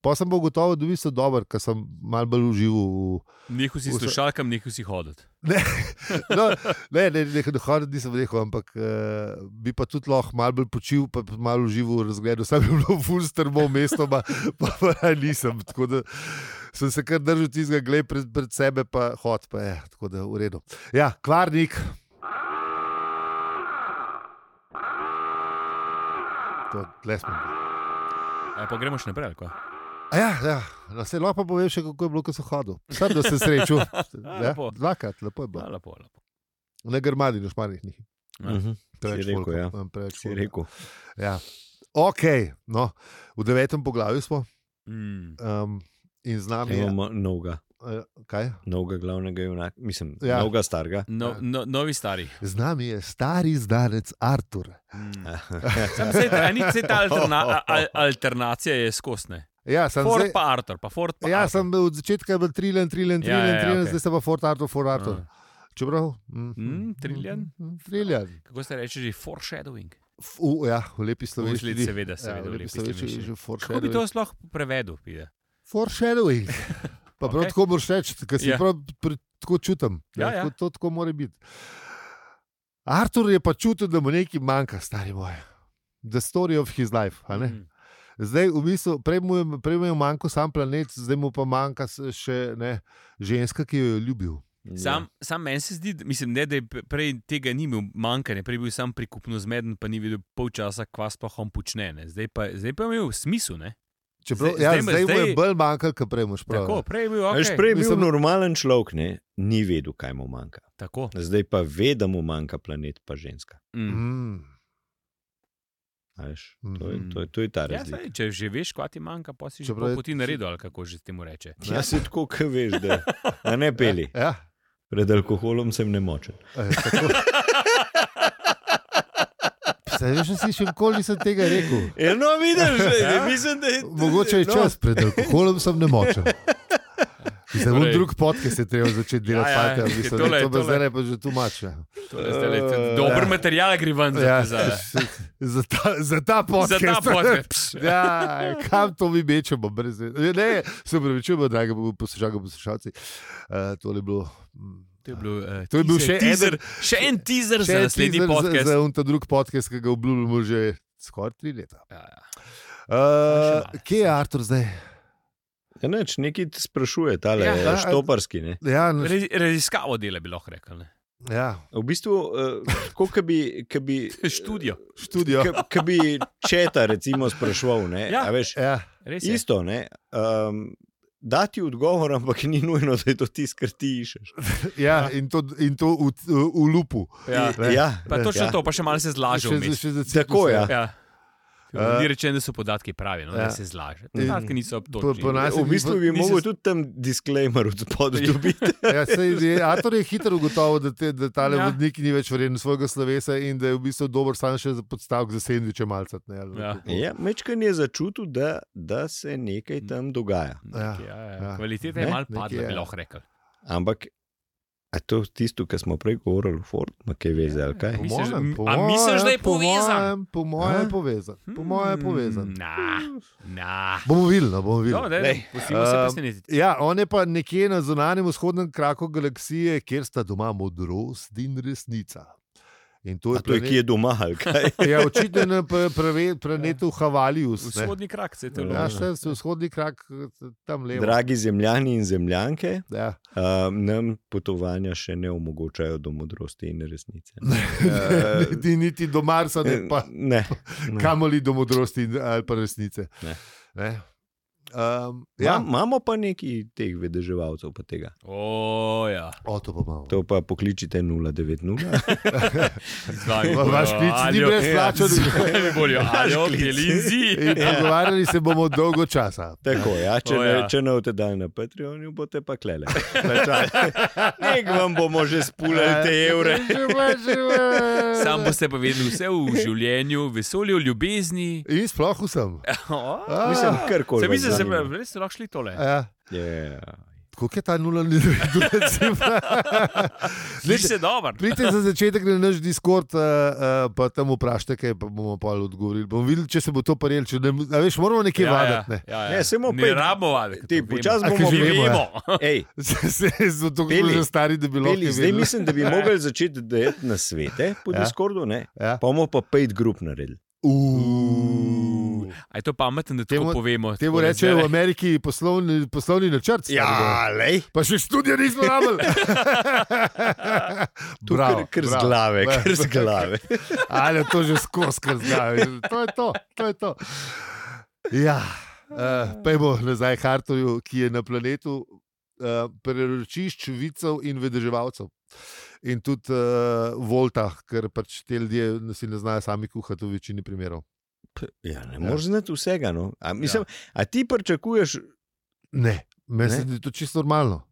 Speaker 3: Pa sem pa ugotovil, da je bil dober, ker sem mal bolj užival. v-
Speaker 1: Nehal si
Speaker 3: Vse-
Speaker 1: slušalkam, nehal si hoditi.
Speaker 3: No, ne, ne, ne, ne, hoditi nisem rekel, ampak uh, bi pa tudi lahko mal bolj počil, pa bi mal užival v razgledu. Sam je bilo ful strmo mesto, pa, pa, pa nisem. Tako da sem se kar držal tistega, gled pred, pred sebe, pa hod, pa je, tako da v redu. Ja, kvarnik. To, tle smo bili.
Speaker 1: E, pa gremo še naprej, ali kaj?
Speaker 3: A Ja, ja. No, se lahko pa povem še, kako je bilo, ko sem hodil. Sam sem se srečal. Ja,
Speaker 1: Lepo.
Speaker 3: dvakrat, lepo je bilo.
Speaker 1: Hvala, hvala.
Speaker 3: Na Grmadi, na Šmarjih. ni.
Speaker 2: Mhm.
Speaker 3: Preveč
Speaker 2: rekel,
Speaker 3: folka,
Speaker 2: ja.
Speaker 3: imam preveč
Speaker 2: Si
Speaker 3: folka.
Speaker 2: rekel.
Speaker 3: Ja. Ok, no, v devetem poglavju smo
Speaker 1: Mm.
Speaker 3: um, in z nami je.
Speaker 2: Imamo novega,
Speaker 3: eh, Kaj?
Speaker 2: novega glavnega junaka, mislim,
Speaker 3: Ja.
Speaker 2: ja. novega starega.
Speaker 1: No, no, novi stari.
Speaker 3: Z nami je stari zdanec Artur.
Speaker 1: Mm. Sam se ta, ni, se ta alterna, a- al, alternacija je skosne.
Speaker 3: Ja, sem
Speaker 1: Ford
Speaker 3: zdaj-
Speaker 1: pa Arthur, pa Ford pa
Speaker 3: ja,
Speaker 1: Arthur.
Speaker 3: sem bil od začetka bil trilen, trilen,
Speaker 1: Ja,
Speaker 3: trilen,
Speaker 1: ja, ja,
Speaker 3: trilen,
Speaker 1: okej.
Speaker 3: zdaj sem pa Fort Artur, Fort Artur.
Speaker 1: Mm.
Speaker 3: Čeprav? Mm,
Speaker 1: Mm, trillion?
Speaker 3: mm, Triljan.
Speaker 1: Kako se reče, že foreshadowing.
Speaker 3: V, ja, v lepi slovenščini.
Speaker 1: sledi- seveda, seveda, v
Speaker 3: ja, v
Speaker 1: lepi
Speaker 3: lepi slovenščini.
Speaker 1: slovenščini.
Speaker 3: že
Speaker 1: Kako bi
Speaker 3: foreshadowing.
Speaker 1: to sploh prevedel? Pide?
Speaker 3: Foreshadowing. Pa prav
Speaker 1: Okej.
Speaker 3: tako moraš reči, ker si
Speaker 1: Ja.
Speaker 3: yeah. prav, pri, tako čutim. ne,
Speaker 1: Ja, ja.
Speaker 3: Tako, to tako mora biti. Artur je pa čutil, da mu nekaj manjka, stari moj. The story of his life. a ne.
Speaker 1: Mm.
Speaker 3: Zdaj, v bistvu, prej mu je- prej mu je manjkal sam planet, zdaj mu pa manjka s- še ne, ženska, ki jo je ljubil.
Speaker 2: Ja.
Speaker 1: Sam,
Speaker 3: Ja.
Speaker 1: sam meni se zdi, da- mislim, ne, da je p- prej tega ni imel manjkanje, prej je bil sam prikupno zmeden, pa ni videl pol časa, kva sploh on počne. Ne. Zdaj pa, zdaj pa je imel smisel. ne.
Speaker 3: Čeprav,
Speaker 1: Zdaj-
Speaker 3: zdaj, ja,
Speaker 1: zdaj
Speaker 3: zdaj,
Speaker 1: me-
Speaker 3: zdaj mu je
Speaker 1: zdaj-
Speaker 3: bolj manjkal, kot prej moš prav. ja.
Speaker 1: Tako, prej je bil
Speaker 2: Okay. Veš,
Speaker 1: okay.
Speaker 2: prej je bil
Speaker 3: Mislim-
Speaker 2: Mislim... normalen človek, ne? ni vedel, kaj mu manjka.
Speaker 1: Tako.
Speaker 2: Zdaj pa ve, da mu manjka planet, pa ženska.
Speaker 1: Mm.
Speaker 3: Mm.
Speaker 2: A Veš, to, je, to, je, to je ta
Speaker 1: Ja,
Speaker 2: razlika.
Speaker 1: saj, če že veš, kaj ti manjka, pa si že
Speaker 3: Čeprav
Speaker 1: pol
Speaker 3: je-
Speaker 1: poti naredil, ali kako že temu reče.
Speaker 2: Ja, ja si tako, kot veš, da a ne peli.
Speaker 3: Ja,
Speaker 2: Pred alkoholom sem nemočen.
Speaker 3: E, tako. Saj veš, da si še nikoli nisem tega rekel.
Speaker 2: Ja, no, vidiš,
Speaker 1: Ja.
Speaker 2: mislim, da je no.
Speaker 3: Mogoče je čas, pred alkoholom sem ne močem. Za
Speaker 1: Torej.
Speaker 3: en drug podcast je treba začeti delati,
Speaker 1: Ja, ja,
Speaker 3: ja,
Speaker 1: je
Speaker 3: ja,
Speaker 1: tole,
Speaker 3: to pa
Speaker 1: tole.
Speaker 3: zdaj pa že tu ja. mače.
Speaker 1: Tole zdajle,
Speaker 2: Eh,
Speaker 1: tudi Dober
Speaker 3: ja.
Speaker 1: material gre ven za
Speaker 3: Ja,
Speaker 1: te zadnje.
Speaker 3: za, ta- za ta
Speaker 1: Za
Speaker 3: podcast.
Speaker 1: ta podcast.
Speaker 3: Ja, kam to mi mečemo, brez veze. Ne, se upravičujemo, dragi poslušalke, poslušalci. Uh, to je bilo. mm,
Speaker 1: To je, bil, uh,
Speaker 3: To je bil še
Speaker 1: teaser, še en teaser
Speaker 3: še
Speaker 1: za
Speaker 3: en
Speaker 1: naslednji
Speaker 3: teaser
Speaker 1: podcast.
Speaker 3: Za, za un ta drug podcast, ki ga obljubljamo že skoraj tri leta.
Speaker 1: Ja, ja.
Speaker 3: Uh,
Speaker 1: malo.
Speaker 3: kje je Artur zdaj?
Speaker 2: Ja, neč, nekaj ti sprašuje, tale
Speaker 1: Ja.
Speaker 2: ja, štoparski. Ne?
Speaker 3: Ja, na-
Speaker 1: Rez- Raziskavo dela bi lahko rekel. ne.
Speaker 3: ja,
Speaker 2: V bistvu, uh, tako kot bi, ke bi
Speaker 1: Študijo.
Speaker 3: študijo.
Speaker 2: Ki bi četa, recimo, sprašval, ne,
Speaker 1: ja. Ja.
Speaker 2: a veš,
Speaker 3: Ja.
Speaker 1: Res je.
Speaker 2: isto. Ne, um, dati odgovor, ampak ni nujno, da je to tisti, kar ti iščeš.
Speaker 3: Ja, in to, in to v, v lupu.
Speaker 1: Ja.
Speaker 3: Ne.
Speaker 2: Ja,
Speaker 1: Pa točno
Speaker 2: ja.
Speaker 1: to, pa še malo se zlažem.
Speaker 3: Še, še za
Speaker 2: Tako, ja.
Speaker 1: Ja.
Speaker 3: Eh.
Speaker 1: Ni rečeno, da so podatki pravi, no,
Speaker 3: Ja.
Speaker 1: da se zlaže. Podatki niso
Speaker 3: Po, po
Speaker 1: obtožni.
Speaker 3: nas
Speaker 2: V bistvu bi
Speaker 3: mislim-
Speaker 2: lahko tudi tam disclaimer od spodaj dobil.
Speaker 3: Ja, sej je- Ator je hitro ugotovil, da, te, da tale
Speaker 1: Ja.
Speaker 3: ja. vodnik ni več vreden svojega slovesa in da je v bistvu dober sam še za podstavek za sendviče malce. Ne, ali
Speaker 1: Ja. Mm.
Speaker 3: kako.
Speaker 2: Ja, Mečkan je začutil, da, da se nekaj tam dogaja.
Speaker 1: Ja,
Speaker 3: Ja,
Speaker 1: ja.
Speaker 3: ja.
Speaker 1: Kvaliteta je
Speaker 2: Ne,
Speaker 1: malo
Speaker 3: nekaj
Speaker 1: padla,
Speaker 3: je.
Speaker 1: bi lahko rekel.
Speaker 2: Ampak a to je tisto, kar smo prej govorili, Ford, ima kaj
Speaker 1: Ja,
Speaker 2: veze ali kaj?
Speaker 3: Po
Speaker 1: Misliš, da-
Speaker 3: mojem- po
Speaker 1: a misliš, da je
Speaker 3: mojem- po
Speaker 1: povezan?
Speaker 3: mojem- Po mojem
Speaker 2: A?
Speaker 3: je povezan. Po mojem je povezan.
Speaker 1: Hmm, Na, na.
Speaker 3: Hmm. Bomo videli, no, bomo videli.
Speaker 1: No, daj,
Speaker 2: Lej,
Speaker 1: Pustimo se
Speaker 3: ehm,
Speaker 1: presenetiti.
Speaker 3: Ja, on je pa nekje na zunanjem vzhodnem kraku galaksije, kjer sta doma modrost in resnica. In to
Speaker 2: A
Speaker 3: je,
Speaker 2: to je, ki je doma ali kaj?
Speaker 3: planet- ja, očitno je na pre- prave- planetu Havalius. ne.
Speaker 1: Vzhodni krak se je to
Speaker 3: Ja,
Speaker 1: loži.
Speaker 3: še se vzhodni krak, tam levo.
Speaker 2: Dragi zemljani in zemljanke,
Speaker 3: Ja.
Speaker 2: uh, nam potovanja še ne omogočajo do modrosti in resnice.
Speaker 3: Ne, niti, niti do Marsa, ne pa
Speaker 2: ne, eh, ne.
Speaker 3: kamoli do modrosti in- ali pa resnice.
Speaker 2: Ne.
Speaker 3: Ne. Um,
Speaker 2: Ja.
Speaker 3: ja,
Speaker 2: Imamo pa nekaj teh vedeževalcev, pa tega.
Speaker 1: O, ja.
Speaker 3: o, to pa imamo.
Speaker 2: To pa pokličite 090.
Speaker 1: Z vami
Speaker 3: Va- vaš
Speaker 1: bojo
Speaker 3: klic ni
Speaker 1: Aljo-
Speaker 3: brezplačen.
Speaker 1: Z vami bojo Aljo
Speaker 2: klic. Ja.
Speaker 1: Bjelinzi.
Speaker 3: In Pogovarjali se bomo dolgo časa.
Speaker 2: Tako, ja,
Speaker 1: O,
Speaker 2: če, oh,
Speaker 1: ja.
Speaker 2: ja. Ne, če ne boste dali na Patreonu, boste pa klele. Plačali. Nek vam bomo že spulali te
Speaker 3: Eh,
Speaker 2: evre.
Speaker 3: Ja.
Speaker 1: Sam boste pa vedeli vse v življenju, vesolju, ljubezni.
Speaker 3: In sploh vsem.
Speaker 1: Se
Speaker 3: A,
Speaker 2: Mislim, kar koli.
Speaker 1: mi zdi, da ste lahko šli tole.
Speaker 3: Ja.
Speaker 2: Yeah.
Speaker 3: Kako je ta nula ni recimo?
Speaker 1: Zdi se dobro.
Speaker 3: Pridite za začetek na naš Discord, uh, uh, pa tam vprašajte, kaj pa bomo pa odgovorili. Bomo videli, če se bo to paril. Ne, a veš, moramo nekaj ja, vaditi. Ne.
Speaker 1: ja, ja.
Speaker 2: Ne, samo
Speaker 1: ne
Speaker 2: pej-
Speaker 1: rabimo vaditi.
Speaker 2: Ti, počasi
Speaker 3: A, ki
Speaker 2: bomo
Speaker 3: že
Speaker 1: že
Speaker 3: vemo, ja.
Speaker 1: vemo.
Speaker 2: Ej,
Speaker 3: Se je tako
Speaker 2: Peli.
Speaker 3: že stari, da bi bilo.
Speaker 2: peli, zdaj mislim, da bi mogli začeti delati na svete po ja.
Speaker 3: Ja.
Speaker 2: Discordu, ne?
Speaker 3: Ja.
Speaker 2: pa bomo pa pet grup naredili.
Speaker 3: Uuu.
Speaker 1: A je to pametno, da temu
Speaker 3: Temu-
Speaker 1: povemo?
Speaker 3: Temu
Speaker 1: tako, da
Speaker 3: rečejo v
Speaker 1: zdaj-
Speaker 3: Ameriki poslovni, poslovni načrt. stari gor.
Speaker 2: Ja, lej.
Speaker 3: Pa še študijo nismo rabili.
Speaker 2: Tu
Speaker 3: Bravo,
Speaker 2: kar, kar z
Speaker 3: bravo.
Speaker 2: glave,
Speaker 3: Bravo.
Speaker 2: kar z glave.
Speaker 3: Ali to že skozi krzgave. To je to, to je to. Ja, uh, pojmo nazaj k Hartorju, ki je na planetu uh, preročišč vicev in vedeževalcev. In tudi uh, volta, ker pač te ljudje si ne znajo sami kuhati v večini primerov.
Speaker 2: Ja, ne moreš znati vsega. No. A, mislim, ja. a ti pričakuješ,
Speaker 3: Ne, meni se
Speaker 2: Ne?
Speaker 3: zdi to čisto normalno.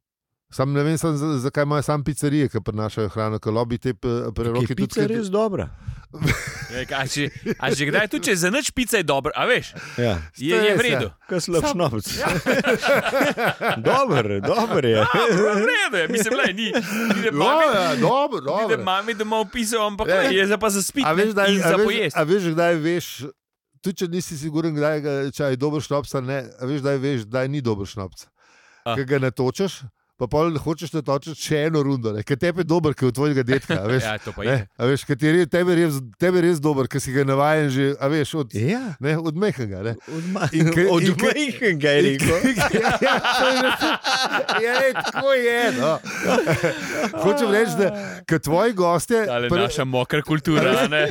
Speaker 3: Sam ne vem, sam, zakaj imajo sam pizzerije, ki prenašajo hrano, ko lobi te eh, pe-
Speaker 2: da je
Speaker 3: preroke.
Speaker 2: pica
Speaker 3: ki-
Speaker 2: res dobra.
Speaker 1: Ja, A že, a že kdaj, tudi če je za nič pica je dobro, a veš,
Speaker 2: Ja.
Speaker 1: je, je v
Speaker 3: Stres, ja.
Speaker 1: redu.
Speaker 2: Kaj slab šnobec. Ja. dober, dober je.
Speaker 1: A, v redu je, mislim, le, ni, ni da
Speaker 3: Ja,
Speaker 1: mami,
Speaker 3: ja, dobro,
Speaker 1: ni da
Speaker 3: dobro.
Speaker 1: mami doma opisal, ampak
Speaker 3: Ja.
Speaker 1: le, je za pa za spit
Speaker 3: A veš,
Speaker 1: in
Speaker 3: a
Speaker 1: za
Speaker 3: veš,
Speaker 1: pojesti.
Speaker 3: a veš, kdaj veš, tudi če nisi siguren, kdaj ga- če je dober šnops, ali ne, a veš, kdaj veš, da ni dober šnops.
Speaker 1: A.
Speaker 3: Ker ga natočeš, pa pol hočeš natočiti še eno rundo, ne, ker tebi je dober, ker je od tvojega detka. a Veš,
Speaker 1: Ja, to pa je.
Speaker 3: ne, a veš, ker ti je res- tebi je res, tebi je res dober, ker si ga navajen že, a veš, od,
Speaker 2: Ja.
Speaker 3: ne, od mehkega. ne. In ke- in ke-
Speaker 2: Odmajhnega je rekel.
Speaker 3: Ja, ja, to je res- ja, lej, tako je. No. Hočem reči, da ke tvoji gostje.
Speaker 1: Ali
Speaker 3: pre-
Speaker 1: naša mokra kultura, a ne?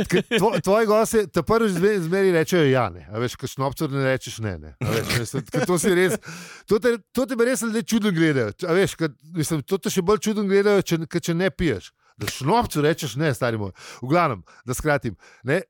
Speaker 3: K- tvo- Tvoji gosti, te prvič zme- zmeri rečejo, ja, ne, a veš, kot šnopcer ne rečeš ne. ne. a Veš, mislim, ke to, si res, to, te, to te me res ljudje čudno gledajo. Č- a Veš, kad, mislim, to te še bolj čudno gledajo, če, ke če ne piješ. Da šnopcu rečeš ne, stari moj. V glavnem, da skratim. Ne,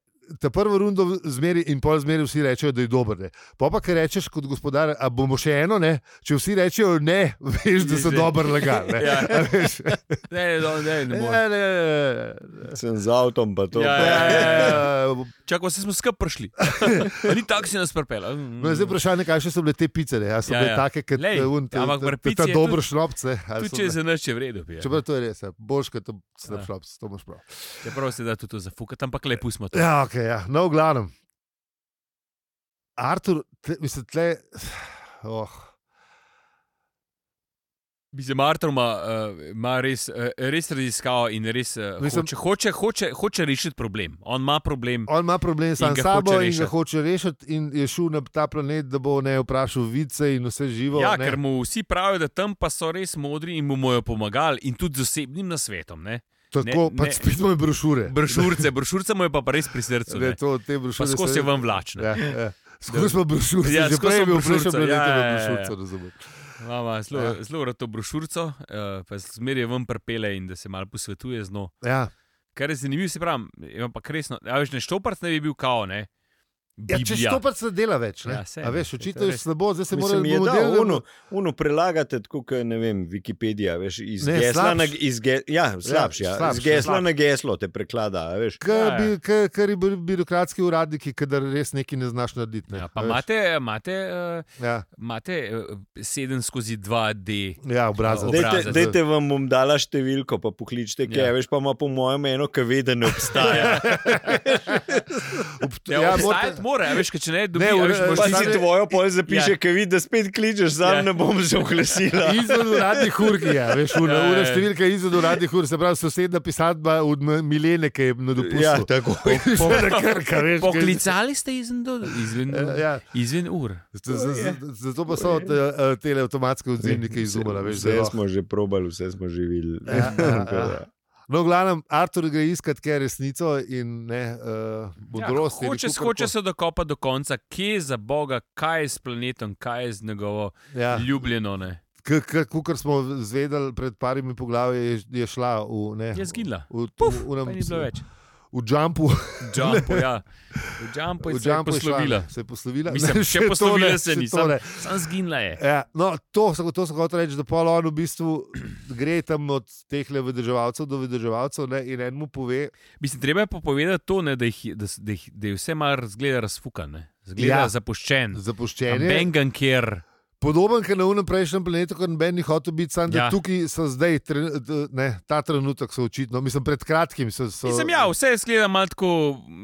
Speaker 3: Ta prvo rundo v- zmeri in pol zmeri vsi rečejo, da je dober. Ne. Po pa, ki rečeš kot gospodar, a bomo še eno, ne? če vsi rečejo ne, veš, da so
Speaker 1: Že-
Speaker 3: dobro lagali. ne.
Speaker 1: Ja.
Speaker 3: A veš?
Speaker 1: Ne, ne, ne, ne
Speaker 3: Ne,
Speaker 1: morem.
Speaker 3: ne, ne, ne, ne.
Speaker 2: Sem z avtom, pa to.
Speaker 1: Ja,
Speaker 3: Ja, ja, ja, ja.
Speaker 1: Čakaj, se smo skupaj prišli. A Ni tako si nas Mm. prpela.
Speaker 3: No, zdaj je vprašanje, kakšne so bile te pice, ne? A so
Speaker 1: Ja,
Speaker 3: ja, bile
Speaker 1: ja.
Speaker 3: ja. take, kot
Speaker 1: Lej,
Speaker 3: je un, te,
Speaker 1: ampak pri
Speaker 3: te,
Speaker 1: pici
Speaker 3: te
Speaker 1: je
Speaker 3: dobro
Speaker 1: tudi-
Speaker 3: šlopce.
Speaker 1: Tudi
Speaker 3: ali so
Speaker 1: če je
Speaker 3: bile-
Speaker 1: za nič je v redu, je.
Speaker 3: Čeprav to je res, ja. boš kot tam
Speaker 1: Ja.
Speaker 3: slab šlopce, to moš prav.
Speaker 1: čeprav Ja, se da tudi to zafukati, ampak le pustimo to.
Speaker 3: Ja, ok, ja. no, v glavnem. Artur, tle, mislim, tle. Oh.
Speaker 1: Mislim, Artur ima, eh, ima res, eh, res raziskavo in res eh,
Speaker 3: Mislim-
Speaker 1: hoče, hoče, hoče, hoče rešiti problem. On ima problem.
Speaker 3: On ima problem
Speaker 1: In
Speaker 3: sam
Speaker 1: ga hoče
Speaker 3: s sabo in ga
Speaker 1: rešiti.
Speaker 3: hoče rešiti, in je šel na ta planet, da bo ne vprašal vice in vse živo.
Speaker 1: Ja,
Speaker 3: ne.
Speaker 1: ker mu vsi pravijo, da tam pa so res modri in mu bojo pomagali, in tudi z osebnim nasvetom. Ne?
Speaker 3: Tako,
Speaker 1: ne-
Speaker 3: ne, pač ne. spet imamo brošure.
Speaker 1: Brošurice, brošurice mu je pa pa res pri srcu.
Speaker 3: Ne,
Speaker 1: Ne.
Speaker 3: to, te
Speaker 1: Pa
Speaker 3: brošure
Speaker 1: skozi je
Speaker 3: so-
Speaker 1: vam vlačne.
Speaker 3: Ja, ja. Skozi smo brošure,
Speaker 1: Ja,
Speaker 3: ja, že
Speaker 1: skozi smo
Speaker 3: prej je bil
Speaker 1: brošurico,
Speaker 3: brošur, zdaj
Speaker 1: ja, ja,
Speaker 3: je
Speaker 1: ja.
Speaker 3: brošurica, razumem.
Speaker 1: Mama, zelo, ja.
Speaker 3: Ja.
Speaker 1: zelo rad to brošurico, eh, pa zmeraj ven prpele in da se malo posvetuje z njo.
Speaker 3: Ja.
Speaker 1: Kar je zanimivo, se pravi, ima pa resno. A veš, ne štoparc ne bi bil kao, ne?
Speaker 3: Ja, če
Speaker 1: Biblija.
Speaker 3: to pač ne dela več, ne?
Speaker 1: Ja,
Speaker 3: Ja,
Speaker 1: sej,
Speaker 3: se,
Speaker 1: ne,
Speaker 3: a
Speaker 1: sej,
Speaker 3: veš,
Speaker 1: to je
Speaker 3: očitno je
Speaker 1: res.
Speaker 3: slabo, zdaj se mora
Speaker 2: Mislim, je da,
Speaker 3: model-
Speaker 2: ono, ono prelagate, tako kot ne vem, Wikipedija, veš, iz
Speaker 3: Ne,
Speaker 2: ne, gesla
Speaker 3: slabš.
Speaker 2: na iz ge, ja, slabš, ja,
Speaker 3: slabš,
Speaker 2: slabš, iz gesla
Speaker 3: slabš.
Speaker 2: slabš. na geslo te preklada, a veš.
Speaker 1: Ja, ja.
Speaker 3: Kar bi- kar- kar je bil birokratski uradniki, kadar res nekaj ne znaš narediti. Ne?
Speaker 1: Ja, pa
Speaker 3: A veš?
Speaker 1: imate, imate, eh,
Speaker 3: ja,
Speaker 1: imate 7 skozi 2D.
Speaker 3: ja, obrazec.
Speaker 1: Dajte-
Speaker 3: Obrazec.
Speaker 1: Obrazac.
Speaker 2: Dajte vam bom dala številko, pa
Speaker 1: Ja.
Speaker 2: pokličite, kaj ja. veš, pa ima po mojem eno, ki ve, da ne obstaja.
Speaker 1: Ja, ja, Obstajati mora, a veš, ker če ne, dobiš
Speaker 3: v-
Speaker 1: več.
Speaker 2: pa si tvojo pol zapiše,
Speaker 1: Ja.
Speaker 2: ja. ki vidi, da spet kličeš, sam
Speaker 1: Ja.
Speaker 2: ja. ne bom že oglesila.
Speaker 3: Izven uradnih ur, ja, veš, ura,
Speaker 1: Ja, ja, ja.
Speaker 3: ura številka je izven uradnih ur, se pravi sosedna pisatba od M- Milene, ki je na dopustu.
Speaker 2: Ja, tako.
Speaker 3: Seveda krka, veš, kaj-
Speaker 1: Poklicali ste izven, do, izven,
Speaker 3: Ja, ja.
Speaker 1: izven ur.
Speaker 3: Z- z- z- Zato pa so te, eh, tele avtomatske odzivnike izumili, veš,
Speaker 2: Vse
Speaker 3: zelo.
Speaker 2: smo že probali, vse smo že videli.
Speaker 3: Ja, ja,
Speaker 2: Tako da.
Speaker 3: No, v glavnem, Artur gre iskat, kaj je resnico in ne uh, modrost.
Speaker 1: Ja,
Speaker 3: in
Speaker 1: hoče,
Speaker 3: kukorko.
Speaker 1: hoče se dokopati do konca, kje je za Boga, kaj je s planetom, kaj je z njegovo
Speaker 3: Ja.
Speaker 1: ljubljeno. Ne?
Speaker 3: Kot smo zvedeli pred parimi poglavji, je, je šla v ne.
Speaker 1: Je zginila.
Speaker 3: Ja. V,
Speaker 1: Puf,
Speaker 3: v, v,
Speaker 1: Pa
Speaker 3: nam,
Speaker 1: je ni bilo več.
Speaker 3: v jumpu,
Speaker 1: Jumpo, ja. V jumpu je
Speaker 3: v
Speaker 1: se je
Speaker 3: jumpu je šla,
Speaker 1: poslovila.
Speaker 3: Se je poslovila.
Speaker 1: Mislim,
Speaker 3: Ne,
Speaker 1: še
Speaker 3: to
Speaker 1: poslovila
Speaker 3: ne,
Speaker 1: se
Speaker 3: še
Speaker 1: ni,
Speaker 3: to
Speaker 1: samo-
Speaker 3: ne.
Speaker 1: Sam zginila je.
Speaker 3: Ja, no, to, sem- to sem hotel reči, da pol on v bistvu gre tam od teh vedeževalcev do vedeževalcev ne, in en mu pove,
Speaker 1: Mislim, treba je pa povedati to, ne, da, jih, je- da, s- da, jih, da je vse malo zgleda razfukan, zgleda ja.
Speaker 3: Ja.
Speaker 1: zapuščen.
Speaker 3: zapuščen je.
Speaker 1: Bengan, kjer
Speaker 3: Podoben, kot na unem prejšnjem planetu, kot noben ni hotel biti, samo
Speaker 1: Ja.
Speaker 3: ja. tukaj so zdaj, tre, d- ne, ta trenutek so očitno, mislim, pred kratkim so. so
Speaker 1: sem ja, vse zgleda malo tako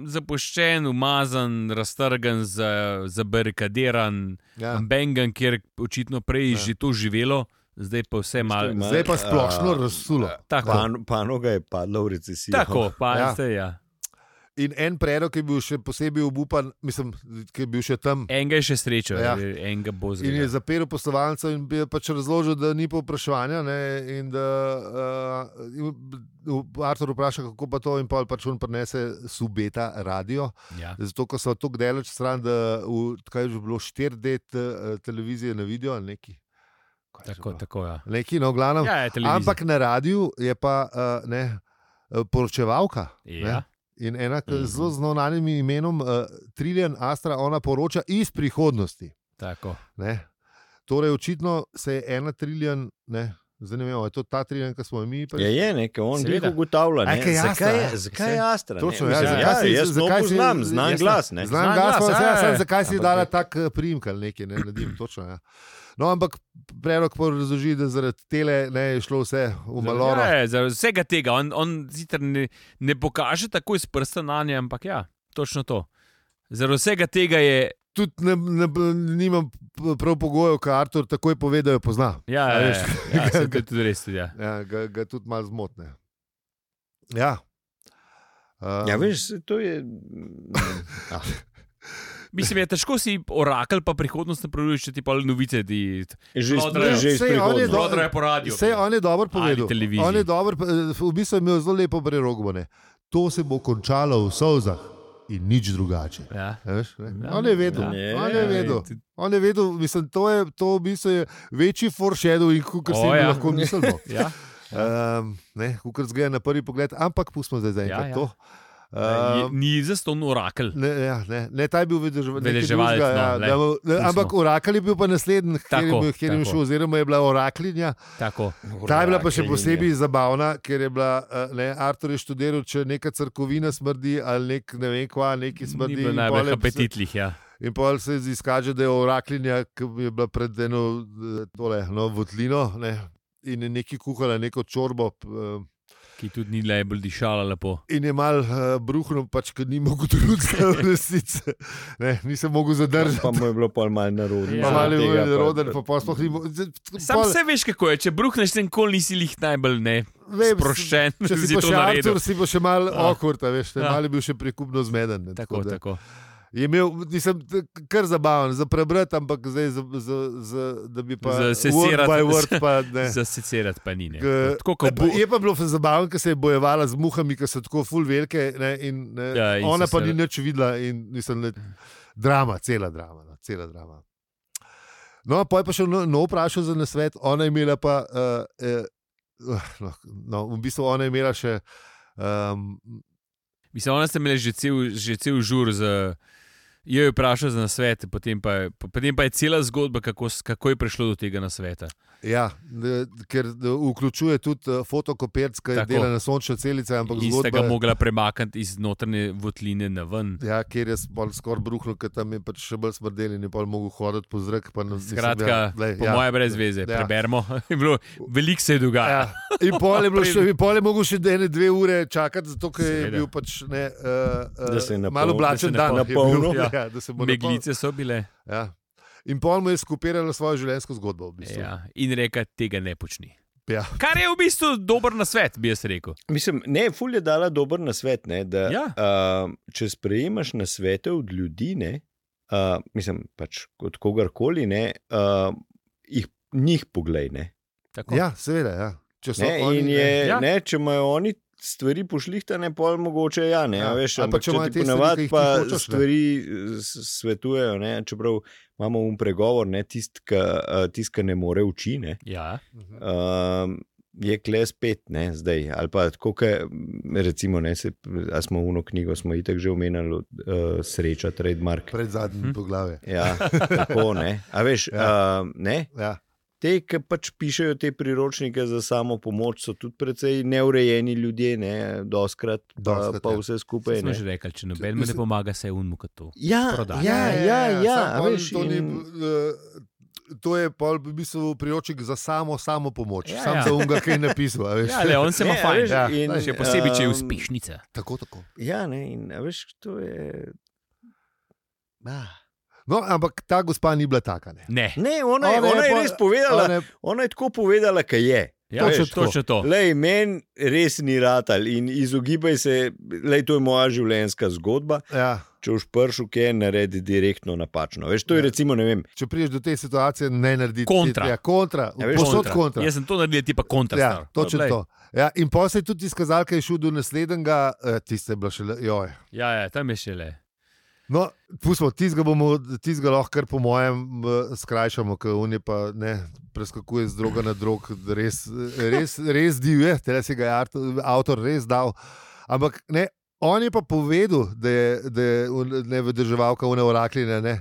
Speaker 1: zapuščen, umazan, raztrgan, za- zabarikadiran.
Speaker 3: ja.
Speaker 1: Ja. Bengan, kjer očitno prej ja. že to živelo, zdaj pa vse malo.
Speaker 2: malo-
Speaker 3: Zdaj pa splošno
Speaker 2: A,
Speaker 3: razsulo.
Speaker 1: Tako,
Speaker 2: Pan, panoga je padla v recesijo.
Speaker 1: tako pa ja.
Speaker 3: Ja.
Speaker 1: ste, ja.
Speaker 3: In en predlog je bil še posebej obupan, mislim, ki je bil še tam.
Speaker 1: Enega je še srečo, ja.
Speaker 3: Ja.
Speaker 1: enega bo
Speaker 3: In je
Speaker 1: zelo.
Speaker 3: zapel poslanca in bi pač razložil, da ni povpraševanja. ne, In da uh, Artur vpraša, kako pa to, in pa pač on prenese subeta radio.
Speaker 1: Ja.
Speaker 3: Zato, ker so tako daleč stran, da v, kaj je že bilo 4D te- eh, televizije na video ali neki. Kaj je že
Speaker 1: Tako,
Speaker 3: bilo?
Speaker 1: tako, ja.
Speaker 3: Neki, no, v glavnem.
Speaker 1: Ja, je televizija.
Speaker 3: Ampak na radiju je pa uh, ne, eh, poročevalka.
Speaker 1: Ja.
Speaker 3: Ne? In ena k-
Speaker 2: Mhm.
Speaker 3: zelo znanim imenom, uh, Triljan Astra, ona poroča iz prihodnosti.
Speaker 1: Tako.
Speaker 3: Ne? Torej, očitno se je ena triljan, ne, zdaj ne vem, ali je to ta triljan, ki smo jo mi.
Speaker 2: Je, je nekaj, on
Speaker 1: Seveda.
Speaker 2: jih ugotavlja.
Speaker 3: A,
Speaker 2: Ne?
Speaker 3: kaj je Astra,
Speaker 2: zakaj,
Speaker 3: ja.
Speaker 2: je- zakaj je Astra? ne?
Speaker 3: Točno, ja,
Speaker 2: Mislim,
Speaker 3: zakaj si-
Speaker 2: ja, jaz to
Speaker 3: zakaj si-
Speaker 2: poznam, znam
Speaker 3: jasno.
Speaker 2: glas. ne.
Speaker 1: Znan
Speaker 3: Znam glas,
Speaker 1: glas,
Speaker 3: glas
Speaker 1: ja,
Speaker 3: ja,
Speaker 1: ja.
Speaker 3: sem, zakaj si
Speaker 2: Ampak
Speaker 3: dala
Speaker 2: je-
Speaker 3: tak eh, priimek ali nekaj, ne naredim, točno. Ja. No, ampak predlog pa razloži, da zaradi tele ne, je šlo vse v maloro.
Speaker 1: Ja, ja, zaradi vsega tega. On, on sicer ne, ne pokaže tako iz prsta na nje, ampak ja, točno to. Zaradi vsega tega je.
Speaker 3: Tudi ne, ne, nimam p- prav pogojev, kar Artur takoj pove, da jo pozna.
Speaker 1: Ja,
Speaker 3: A
Speaker 1: ja,
Speaker 3: veš,
Speaker 1: ja, ja, saj to je tudi res. tudi, Ja.
Speaker 3: Ja, ga, ga tudi malo zmotne. Ja. Um,
Speaker 2: Ja, veš, saj to je.
Speaker 1: Mislim, je težko si orakel, pa prihodnost napravljaš, če ti pa novice ti
Speaker 2: Že iz,
Speaker 1: Prodre.
Speaker 2: že iz
Speaker 3: Sej, on je
Speaker 2: prihodnosti.
Speaker 3: do-
Speaker 1: zdravijo po radiju.
Speaker 3: Vse on je dobro
Speaker 1: Ali
Speaker 3: povedal.
Speaker 1: televiziji.
Speaker 3: On je dobro, po- v bistvu je imel zelo lepo prerogbone. To se bo končalo v solzah in nič drugače.
Speaker 1: Ja.
Speaker 3: A Veš, ne?
Speaker 1: Ja.
Speaker 3: on je vedel,
Speaker 2: Ja.
Speaker 3: on je vedel. On je vedel, mislim, to je to v bistvu je večji foreshadowing, kot si
Speaker 1: O, ja.
Speaker 3: ja. lahko mislimo.
Speaker 1: Ja.
Speaker 3: um, ne, kot zgleda na prvi pogled, ampak pustimo zdaj za
Speaker 1: Ja,
Speaker 3: enkrat
Speaker 1: ja.
Speaker 3: ja, ja. to.
Speaker 1: Je-
Speaker 3: Um,
Speaker 1: Ni zaston orakel.
Speaker 3: Ne, ja, ne, ne, ta je bil vedeževalec.
Speaker 1: Vedeževalec, no,
Speaker 3: ja,
Speaker 1: glej,
Speaker 3: da bo- ne,
Speaker 1: pustimo.
Speaker 3: ampak orakel je bil pa naslednji, kjer je
Speaker 1: Tako,
Speaker 3: bil- kjer je
Speaker 1: tako.
Speaker 3: šel, oziroma je bila oraklinja.
Speaker 1: Tako.
Speaker 3: Ta je bila pa še
Speaker 2: ja.
Speaker 3: posebej zabavna, ker je bila, eh, ne, Artur je študiral, če neka crkovina smrdi ali nek, ne vem, kva, neki
Speaker 1: Ni
Speaker 3: smrdi.
Speaker 1: bilo
Speaker 3: in
Speaker 1: najbolj
Speaker 3: pol je-
Speaker 1: apetitlih. Ja.
Speaker 3: In pol se izkaže, da je oraklinja, ki je bila pred eno eh, tole, no, votlino ne, in je neki kuhala, neko čorbo. p- eh,
Speaker 1: Ki tudi ni najbolj dišala lepo.
Speaker 3: In je mal uh, bruhnil, pač, ker ni mogel drugega resnice. Ne, nisem mogel zadržati.
Speaker 2: Pa mu je bilo pol malo narodno.
Speaker 1: Ja.
Speaker 3: Pa malo
Speaker 2: zaradi
Speaker 3: je
Speaker 2: tega,
Speaker 3: bil
Speaker 2: pa-
Speaker 3: roden, pa pa sploh ni mogel.
Speaker 1: Sam vse veš, kako je. Če bruhneš, ten kol nisi lih najbolj ne. sproščen,
Speaker 3: Če
Speaker 1: si
Speaker 3: si pa
Speaker 1: to
Speaker 3: še
Speaker 1: naredil.
Speaker 3: Artur, si pa še mal
Speaker 1: Ja.
Speaker 3: okurta, veš,
Speaker 1: Ja.
Speaker 3: ja. mal je bil še prikupno zmeden. Ne,
Speaker 1: Tako,
Speaker 3: da-
Speaker 1: tako.
Speaker 3: Je imel, nisem kar zabaven za prebrati, ampak zdaj, za, za, za, da bi pa
Speaker 1: Za
Speaker 3: word
Speaker 1: sesirati.
Speaker 3: by word pa ne.
Speaker 1: Za secerat pa ni. ne.
Speaker 3: K-
Speaker 1: Tako kot bo.
Speaker 3: Je E, pa bilo zabavno, ker se je bojevala z muhami, ki so tako full velike. Ne, in, ne,
Speaker 1: Ja,
Speaker 3: ja,
Speaker 1: in
Speaker 3: in
Speaker 1: so
Speaker 3: ona
Speaker 1: se-
Speaker 3: pa ni nič videla. In, mislim, ne, drama, cela drama. No, cela drama. No, pa je pa še no, no vprašal za nasvet. Ona je imela pa, uh, eh, no, no, v bistvu ona je imela še. Um,
Speaker 1: Mislim, ona ste imeli že cel, že cel žur za. Jo je vprašal za nasvet, potem pa, je- po- potem pa je cela zgodba, kako, s- kako je prišlo do tega nasveta.
Speaker 3: ja, ne, ker eh, vključuje tudi eh, fotokopirc, ki je
Speaker 1: Tako.
Speaker 3: dela na sončne celice, ampak
Speaker 1: In sta
Speaker 3: zgodba
Speaker 1: ga
Speaker 3: je-
Speaker 1: mogla premakniti iz notranje votline na ven.
Speaker 3: Ja, kjer je spol- skoraj bruhnil, ker tam je pač še bolj smrdel in je pol mogel hoditi po zrak. Pa, na- mislim,
Speaker 1: Skratka,
Speaker 3: ja, glej,
Speaker 1: po moje brez veze,
Speaker 3: Ja.
Speaker 1: preberemo. Je bilo- Veliko se je dogajalo.
Speaker 3: Ja. In pol je, bilo še, in pol je mogel še ene, dve ure čakati, zato ker je
Speaker 1: Seveda.
Speaker 3: bil pač ne, uh,
Speaker 2: Da se je napol-
Speaker 3: malo
Speaker 1: da
Speaker 3: oblačen
Speaker 1: se
Speaker 3: dan.
Speaker 1: napol-
Speaker 3: je bil,
Speaker 1: napolnil.
Speaker 3: ja, da se bo napol-
Speaker 1: Meglice so bile.
Speaker 3: Ja. In pol mu je skupirala svojo življenjsko zgodbo. V bistvu.
Speaker 1: Ja. In reka, tega ne počni.
Speaker 3: Ja.
Speaker 1: Kar je v bistvu dober nasvet, bi jaz rekel.
Speaker 2: Mislim, ne, Fulj je dala dober nasvet. Ne, da,
Speaker 1: Ja.
Speaker 2: uh, če sprejemaš nasvete od ljudi, ne, uh, mislim, pač od kogarkoli, ne, uh, jih, njih poglej. Ne,
Speaker 1: Tako.
Speaker 3: ja, seveda. Ja. Če so
Speaker 2: ne,
Speaker 3: oni,
Speaker 2: in
Speaker 3: ne,
Speaker 2: je,
Speaker 1: Ja.
Speaker 2: ja. ne, če imajo oni stvari pošlihtane, pol mogoče ja, ne,
Speaker 3: Ja.
Speaker 2: ja. veš,
Speaker 3: Ali pa
Speaker 2: ampak
Speaker 3: če imajo
Speaker 2: ti
Speaker 3: te stvari, ki
Speaker 2: ponavadi
Speaker 3: jih ti
Speaker 2: pa
Speaker 3: hočeš, ne.
Speaker 2: stvari s- svetujejo, ne, čeprav imamo um pregovor, ne tisti, ki eh, tisti, ki ne more uči. Ne.
Speaker 1: Ja.
Speaker 3: Mhm.
Speaker 2: Um, je kle spet, ne, zdaj. Ali pa tako, kot recimo, ne, se, a smo uno knjigo, smo itek že omenjali, uh, sreča, trademark.
Speaker 3: Pred
Speaker 1: Hm.
Speaker 3: zadnjim hm. poglavjem.
Speaker 2: Ja, tako ne. A veš, ja.
Speaker 3: Ja.
Speaker 2: uh, ne.
Speaker 3: Ja.
Speaker 2: Te, ki pač pišejo te priročnike za samo pomoč, so tudi precej neurejeni ljudje, ne, doskrat, pa,
Speaker 3: Dostkrat,
Speaker 2: pa
Speaker 3: ja.
Speaker 2: vse
Speaker 1: Saj
Speaker 2: skupaj.
Speaker 1: Smo
Speaker 2: Ne.
Speaker 1: že rekli, če noben mu ne
Speaker 3: Mislim-
Speaker 1: pomaga, se je unmu kot to.
Speaker 2: Ja,
Speaker 1: prodali.
Speaker 2: ja, ja, ja,
Speaker 3: samo
Speaker 2: a
Speaker 3: pol
Speaker 2: veš,
Speaker 3: to, ni,
Speaker 2: in-
Speaker 3: eh, to je pol v bistvu priročnik za samo, samo pomoč.
Speaker 1: Ja,
Speaker 3: Ja, Sam
Speaker 1: ja.
Speaker 3: ja. sem ga kaj napisal. a Veš.
Speaker 1: Ja, le, on se ima
Speaker 2: Ne, a
Speaker 1: fajn.
Speaker 2: veš,
Speaker 1: Ja.
Speaker 2: in,
Speaker 1: Še posebej, če je
Speaker 2: um,
Speaker 1: uspešnica.
Speaker 3: Tako, tako.
Speaker 2: Ja, ne, in a veš, to je. Ah.
Speaker 3: No, ampak ta gospa ni bila taka. Ne.
Speaker 1: Ne.
Speaker 2: Ne, ona je,
Speaker 3: Ona je
Speaker 2: ona je
Speaker 3: pa-
Speaker 2: res povedala,
Speaker 3: Ona je-
Speaker 2: Ona je tako povedala, kaj je.
Speaker 1: Ja,
Speaker 3: Točno
Speaker 1: veš,
Speaker 3: tako.
Speaker 1: točno to.
Speaker 2: Lej, meni res ni ratal in izogibaj se, lej, to je moja življenjska zgodba.
Speaker 3: Ja.
Speaker 2: Če už pršu, ki je naredi direktno napačno. Veš, to je
Speaker 3: Ja.
Speaker 2: recimo, ne vem.
Speaker 3: Če priješ do te situacije, ne narediš
Speaker 1: Kontra.
Speaker 3: Ja, kontra.
Speaker 2: Ja,
Speaker 3: Ja,
Speaker 2: veš,
Speaker 3: Posod kontra.
Speaker 1: Jaz sem to naredil, ti pa kontra.
Speaker 3: Ja,
Speaker 1: star.
Speaker 3: točno
Speaker 1: Glej.
Speaker 3: to. Ja, in potem se je tudi izkazalo, da je šel do naslednjega, eh, tiste je bilo še le, joj.
Speaker 1: Ja, ja, tam je še le.
Speaker 3: No, pustimo, tizga bomo, tizga lahko kar po mojem eh, skrajšamo, ker on je pa ne, preskakuje z droga na drog, res, res, res divje, tele si ga je art- avtor res dal. Ampak ne, on je pa povedal, da je, da je on- ne vedrževalka une orakline, ne,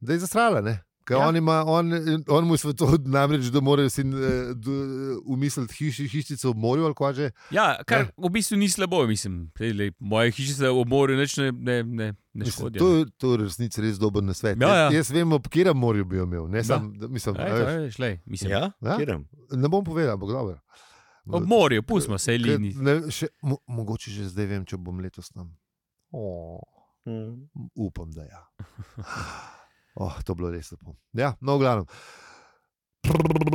Speaker 3: da je zastrala, ne. Ker
Speaker 1: Ja.
Speaker 3: on, ima, on, on mu je svetoval, namreč, da morajo si eh, d- umisliti hiš, hišico v morju ali kaj že.
Speaker 1: Ja, kar v bistvu ni slabo, mislim. Saj, lej, Moje hiše se ob morju nič ne, ne, ne, ne
Speaker 3: Mislim,
Speaker 1: škodijo.
Speaker 3: to, je- to je v resnici res dober nasvet.
Speaker 1: Ja, ja.
Speaker 3: Jaz, jaz vem, ob katerem morju bi jo imel. Ne, sam, da, mislim,
Speaker 1: Ej,
Speaker 3: a
Speaker 1: to
Speaker 3: veš,
Speaker 1: je, šlej, mislim.
Speaker 2: Ja,
Speaker 3: Ja?
Speaker 2: kiram.
Speaker 3: ne bom povedal, ampak dobro.
Speaker 1: Ob morju, pustimo se,
Speaker 3: Ker
Speaker 1: lini.
Speaker 3: Ne, še, mo, mogoče že zdaj vem, če bom letos tam. O, Hmm.
Speaker 2: Mm.
Speaker 3: upam, da ja. Oh, to je bilo res lepo. Ja, no, glavno.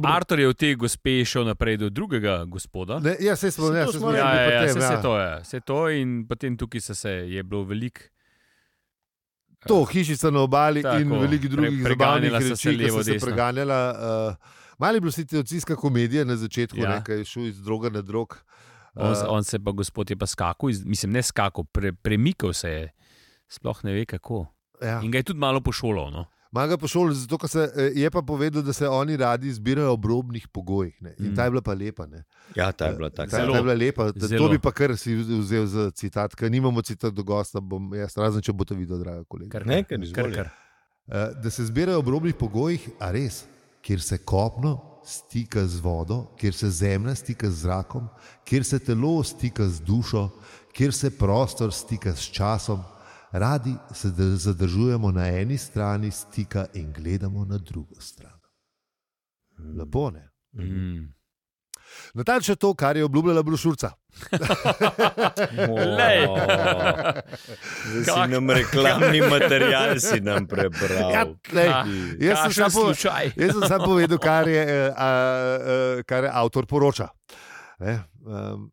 Speaker 1: Artur je od te gospe šel naprej do drugega gospoda.
Speaker 3: Ne, ja, se smo,
Speaker 2: Saj
Speaker 3: ja,
Speaker 2: to
Speaker 3: saj
Speaker 2: smo
Speaker 3: smo
Speaker 2: rekli.
Speaker 1: Ja,
Speaker 3: rekli
Speaker 1: ja,
Speaker 3: pri
Speaker 1: ja,
Speaker 3: tem,
Speaker 1: se, se to je. Se to in potem tukaj se, se je bilo veliko.
Speaker 3: To, hišica na obali
Speaker 1: Tako,
Speaker 3: Tako, in veliko
Speaker 1: pre-
Speaker 3: drugih
Speaker 1: preganjala
Speaker 3: zabavnih
Speaker 1: so se
Speaker 3: reči, ki
Speaker 1: levo,
Speaker 3: so se
Speaker 1: desno.
Speaker 3: preganjala. Uh, Mali bil si teocijska komedija na začetku,
Speaker 1: Ja.
Speaker 3: ja. nekaj je šel iz droga na drog.
Speaker 1: On,
Speaker 3: Eh,
Speaker 1: uh, on se pa, gospod je pa skakal, iz, mislim, ne skakal, pre, premikal se je, sploh ne ve kako.
Speaker 3: ja.
Speaker 1: In ga je tudi malo pošolal. No?
Speaker 3: Maga po šoli, zato ker se eh, je pa povedal, da se oni radi zbirajo ob robnih pogojih. Ne? In
Speaker 1: Mm.
Speaker 3: ta je bila pa lepa. Ne?
Speaker 2: Ja, ta je bila
Speaker 3: Ta,
Speaker 2: taka.
Speaker 3: ta je
Speaker 1: Zelo.
Speaker 3: bila lepa. Ta,
Speaker 1: Zelo.
Speaker 3: to bi pa kar si vz- vzel za citat, ker nimamo citat do gosta, bom jaz, razen če bo to videl, draga kolega.
Speaker 1: Kar,
Speaker 2: Ne, kar
Speaker 1: kar,
Speaker 2: izvoli.
Speaker 1: kar.
Speaker 3: Eh, Da se zbirajo ob robnih pogojih, a res, kjer se kopno stika z vodo, kjer se zemlja stika z zrakom, kjer se telo stika z dušo, kjer se prostor stika s časom. Radi se dr- zadržujemo na eni strani stika in gledamo na drugo stran. Lepo ne.
Speaker 1: Mm.
Speaker 3: Natančno to, kar je obljubljala brošurica.
Speaker 1: Lej.
Speaker 2: Zdaj si
Speaker 1: Kak-
Speaker 2: nam reklamni material si nam prebral.
Speaker 3: Ja, lej,
Speaker 1: Ah,
Speaker 3: jaz sem
Speaker 1: Kakšen
Speaker 3: samo povedal-
Speaker 1: slučaj.
Speaker 3: Jaz sem samo povedal, kar je, eh, a, eh, kar je ehm, avtor poroča. Ne, um,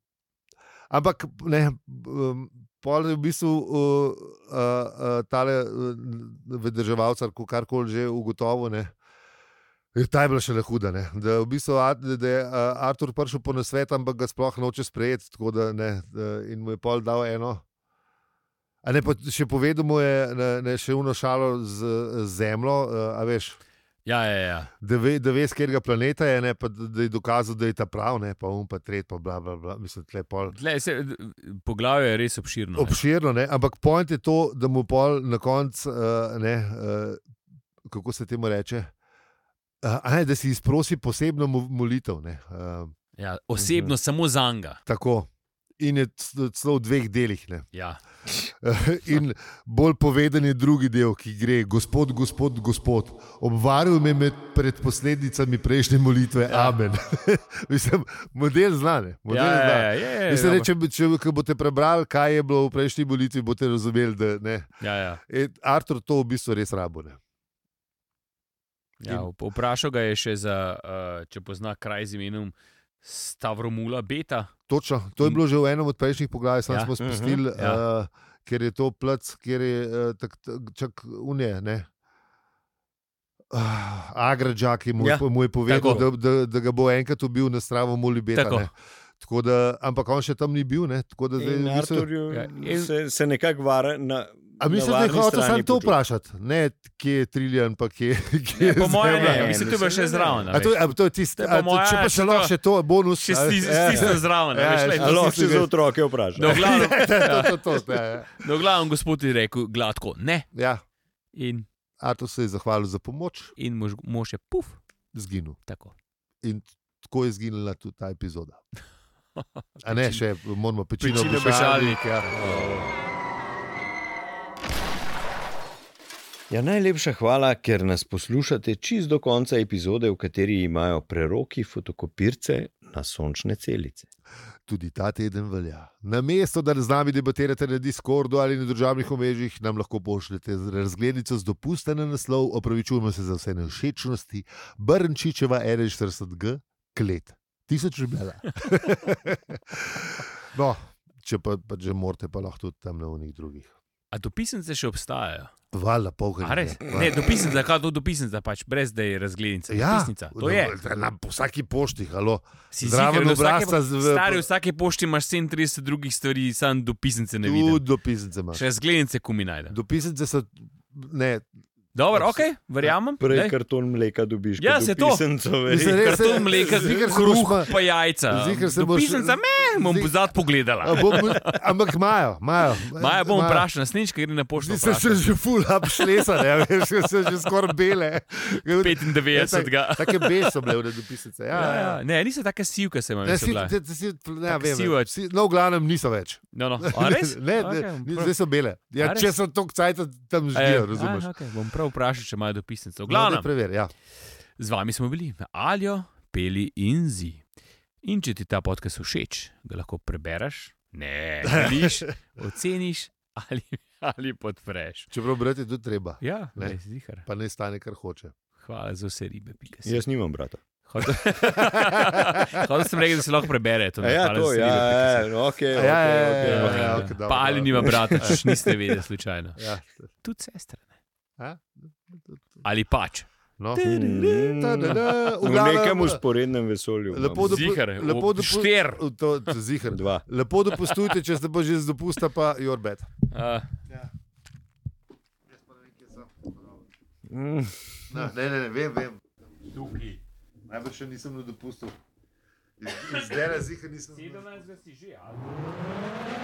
Speaker 3: ampak ne, um, Pol je v bistvu uh, uh, tale uh, vedrževalc, karkoli že ugotovil. Ne. Je ta je bila še le huda. Ne. Da, v bistvu, Ar- da, da je uh, Artur prišel po nasvet, ampak ga sploh noče sprejeti. tako Da, ne, da, in mu je pol dal eno. A ne, pa še povedal mu je ne, ne, še uno šalo z z zemljo, uh, a veš,
Speaker 1: Ja, ja, ja.
Speaker 3: da, ve, da veš, katerega planeta je, ne, pa, da da je dokazal, da je ta prav, ne, pa um, pa tret, pa bla, bla, bla. Mislim, tle pol.
Speaker 1: Tle, se, d- poglavje je res obširno. ne.
Speaker 3: Obširno, ne? ampak point je to, da mu pol na koncu, uh, ne, uh, kako se temu reče, uh, aj, da si izprosi posebno mo- molitev. ne, Uh,
Speaker 1: Ja,
Speaker 3: Mhm.
Speaker 1: osebno, samo za njega.
Speaker 3: tako. In je c- celo v dveh delih. ne.
Speaker 1: Ja.
Speaker 3: In bolj poveden je drugi del, ki gre: Gospod, Gospod, Gospod, obvaril me med pred posledicami prejšnje molitve. Ja. Amen. Mislim, model znane. Model
Speaker 1: Ja, ja,
Speaker 3: znan.
Speaker 1: ja, je,
Speaker 3: Mislim,
Speaker 1: ja,
Speaker 3: da, če, bi- če bi- ko boste prebrali, kaj je bilo v prejšnji molitvi, boste razumeli, da ne.
Speaker 1: ja, ja,
Speaker 3: E, Artur to v bistvu res rabone.
Speaker 1: ja. vp- Vprašal ga je še, za, uh, če pozna kraj z imenom Stavromula Beta.
Speaker 3: Točno, to je bilo že v enem od prejšnjih poglavij, sam
Speaker 1: Ja.
Speaker 3: ja. smo spustili,
Speaker 1: Mhm, ja.
Speaker 3: uh, ker je to plac, kjer je uh, tak, tak- čak unije. Ne? Uh, Agrađak je mu,
Speaker 2: Ja.
Speaker 3: ja. mu je povedal, da,
Speaker 1: Tako.
Speaker 3: da, da ga bo enkrat ubil na stravo Molibeta.
Speaker 1: Tako.
Speaker 3: ne. Tako da, ampak on še tam ni bil. Ne? Tako da zdaj,
Speaker 2: In
Speaker 3: v bistvu-
Speaker 2: Arturju
Speaker 1: Ja, in-
Speaker 2: se, se nekako vara na.
Speaker 3: A misliš,
Speaker 2: na
Speaker 3: da je
Speaker 2: varni
Speaker 3: hotel
Speaker 2: strani
Speaker 3: samo to
Speaker 2: počuti?
Speaker 3: vprašati, ne kje je Triljan, pa kje, kje
Speaker 1: Ne,
Speaker 3: je
Speaker 1: po mojem,
Speaker 3: Zemlja?
Speaker 1: ne, mislim, to je bilo še zraven. a
Speaker 3: A to,
Speaker 1: veš.
Speaker 3: je- a to je tisto,
Speaker 1: To je po
Speaker 3: a to-
Speaker 1: moje,
Speaker 3: če pa
Speaker 1: še
Speaker 3: še
Speaker 1: to-
Speaker 3: lahko še to, bonus.
Speaker 1: Še
Speaker 3: a-
Speaker 1: stis-
Speaker 3: ja,
Speaker 1: stisnjen zraven. a
Speaker 3: Ja,
Speaker 1: veš,
Speaker 3: ja,
Speaker 1: glej,
Speaker 2: A Lahko
Speaker 3: Mislim,
Speaker 2: se
Speaker 3: da-
Speaker 2: za otroke vprašaš.
Speaker 1: No, v glavnem,
Speaker 3: ja, to, to, to, ja, ja.
Speaker 1: no, v glavnem, gospod je rekel gladko ne.
Speaker 3: Ja,
Speaker 1: In,
Speaker 3: Artur se je zahvalil za pomoč,
Speaker 1: in mož, mož je puf.
Speaker 3: zginil.
Speaker 1: Tako.
Speaker 3: In tako je zginila tudi ta epizoda. A ne, še moramo pečeno
Speaker 1: Pečino
Speaker 3: obešalnik.
Speaker 1: obešalnik,
Speaker 3: Ja.
Speaker 2: Ja, najlepša hvala, ker nas poslušate čist do konca epizode, v kateri imajo preroki fotokopirce na sončne celice.
Speaker 3: Tudi ta teden velja. Na mesto, da z nami debatirate na Discordu ali na državnih omrežjih, nam lahko pošljete razglednico z dopusta na naslov, opravičujemo se za vse neušečnosti, Brnčičeva, R40G, klet. Tisoč rubela. no, če pa, pa že morate, pa lahko tudi tam na unih drugih.
Speaker 1: A dopisnice še obstajajo?
Speaker 3: Hvala, polkaj.
Speaker 1: A res? Ne, dopisnica, kaj to dopisnica, pač brez da je razglednica.
Speaker 3: Ja,
Speaker 1: dopisnica, to je.
Speaker 3: na- Na po vsaki pošti, halo.
Speaker 1: Si
Speaker 3: Zraven
Speaker 1: ziher, da vsake
Speaker 3: obrazca
Speaker 1: po-
Speaker 3: z-
Speaker 1: Stari, v vsaki pošti imaš 37 drugih stvari, samo dopisnice ne
Speaker 3: Tudi
Speaker 1: vidiš.
Speaker 3: dopisnice imaš.
Speaker 1: Še razglednice, kumi najde.
Speaker 3: Dopisnice so, ne,
Speaker 1: Dobro, ok, verjamem.
Speaker 2: Prej
Speaker 1: daj.
Speaker 2: karton mleka dobiš.
Speaker 1: Ja,
Speaker 2: kot
Speaker 1: se to.
Speaker 2: dopisenco, verjetno.
Speaker 3: Mislim, res-
Speaker 1: Karton mleka,
Speaker 3: Ziher se
Speaker 1: kruh,
Speaker 3: boš pa-
Speaker 1: pa jajca.
Speaker 3: Ziher se boš-
Speaker 1: Dopisnica, me, bom
Speaker 3: Ziher-
Speaker 1: zadnji pogledala.
Speaker 3: A Bom, ampak imajo, imajo.
Speaker 1: Maja bom vprašala, snička gre na pošto.
Speaker 3: Zdi se, se že ful upšlesa, ne veš, da so že skoraj bele. Ja, tak-
Speaker 1: 95.
Speaker 3: Take bele so bile v dopisnice. Ja,
Speaker 1: Ja,
Speaker 3: ja.
Speaker 1: ja. Ne, niso take sivke, se imajo.
Speaker 3: Ne, si, te, te, si, ne,
Speaker 1: Tak
Speaker 3: vem,
Speaker 1: siva-
Speaker 3: si, no, v glavnem niso več.
Speaker 1: No, no. A res?
Speaker 3: Ne, ne,
Speaker 1: Okej,
Speaker 3: ni-
Speaker 1: prav.
Speaker 3: zdaj so bele.
Speaker 1: A
Speaker 3: Ja,
Speaker 1: res?
Speaker 3: če so to kcajta, tam
Speaker 1: Eh,
Speaker 3: živijo, razumeš?
Speaker 1: aha, okej, Bom prav vprašal, če imajo dopisnice. V glavnem,
Speaker 3: Glavno. Prever, ja.
Speaker 1: z vami smo bili Aljo, Peli in Zi. In če ti ta podcast všeč, ga lahko prebereš, ne, vidiš, oceniš ali, ali podpreš.
Speaker 3: Čeprav brati tudi treba,
Speaker 1: Ja,
Speaker 3: Ne.
Speaker 1: ne, zihar.
Speaker 3: pa ne stane, kar hoče.
Speaker 1: Hvala za vse ribe, pika. si.
Speaker 2: Jaz nimam brata.
Speaker 1: Hotel hotel sem reči, da se lahko prebere. To,
Speaker 2: A
Speaker 1: ne,
Speaker 2: Ja,
Speaker 1: hvala
Speaker 2: to
Speaker 1: za vse
Speaker 2: je. Ja,
Speaker 1: ribe, pika
Speaker 2: ja,
Speaker 1: si.
Speaker 2: ja, ok,
Speaker 3: Ja,
Speaker 2: ok, ok,
Speaker 3: ja, ja,
Speaker 2: ok.
Speaker 3: ja, ja, okej, dobro,
Speaker 1: Pa ali
Speaker 3: dobro.
Speaker 1: nima brata, če niste vedeli slučajno.
Speaker 3: Ja.
Speaker 1: Tudi sestre. ne.
Speaker 3: A?
Speaker 1: Ali pač.
Speaker 3: No.
Speaker 2: Mm.
Speaker 3: Ta-da-da,
Speaker 2: V
Speaker 3: v glavnem-
Speaker 2: nekem usporednem vesolju.
Speaker 3: Lepo
Speaker 2: imam.
Speaker 3: dopu-
Speaker 1: Zihar,
Speaker 3: lepo
Speaker 1: ob
Speaker 3: dopu-
Speaker 1: štir.
Speaker 3: To- to Zihar.
Speaker 2: Dva.
Speaker 3: Lepo dopustujte, če ste pa že z dopusta, pa your bed.
Speaker 1: Uh,
Speaker 2: Mm.
Speaker 3: Ne, ne, ne, vem, vem. Najbrž še nisem na dopustu. Zdaj, zihar nisem.
Speaker 1: si že, ali?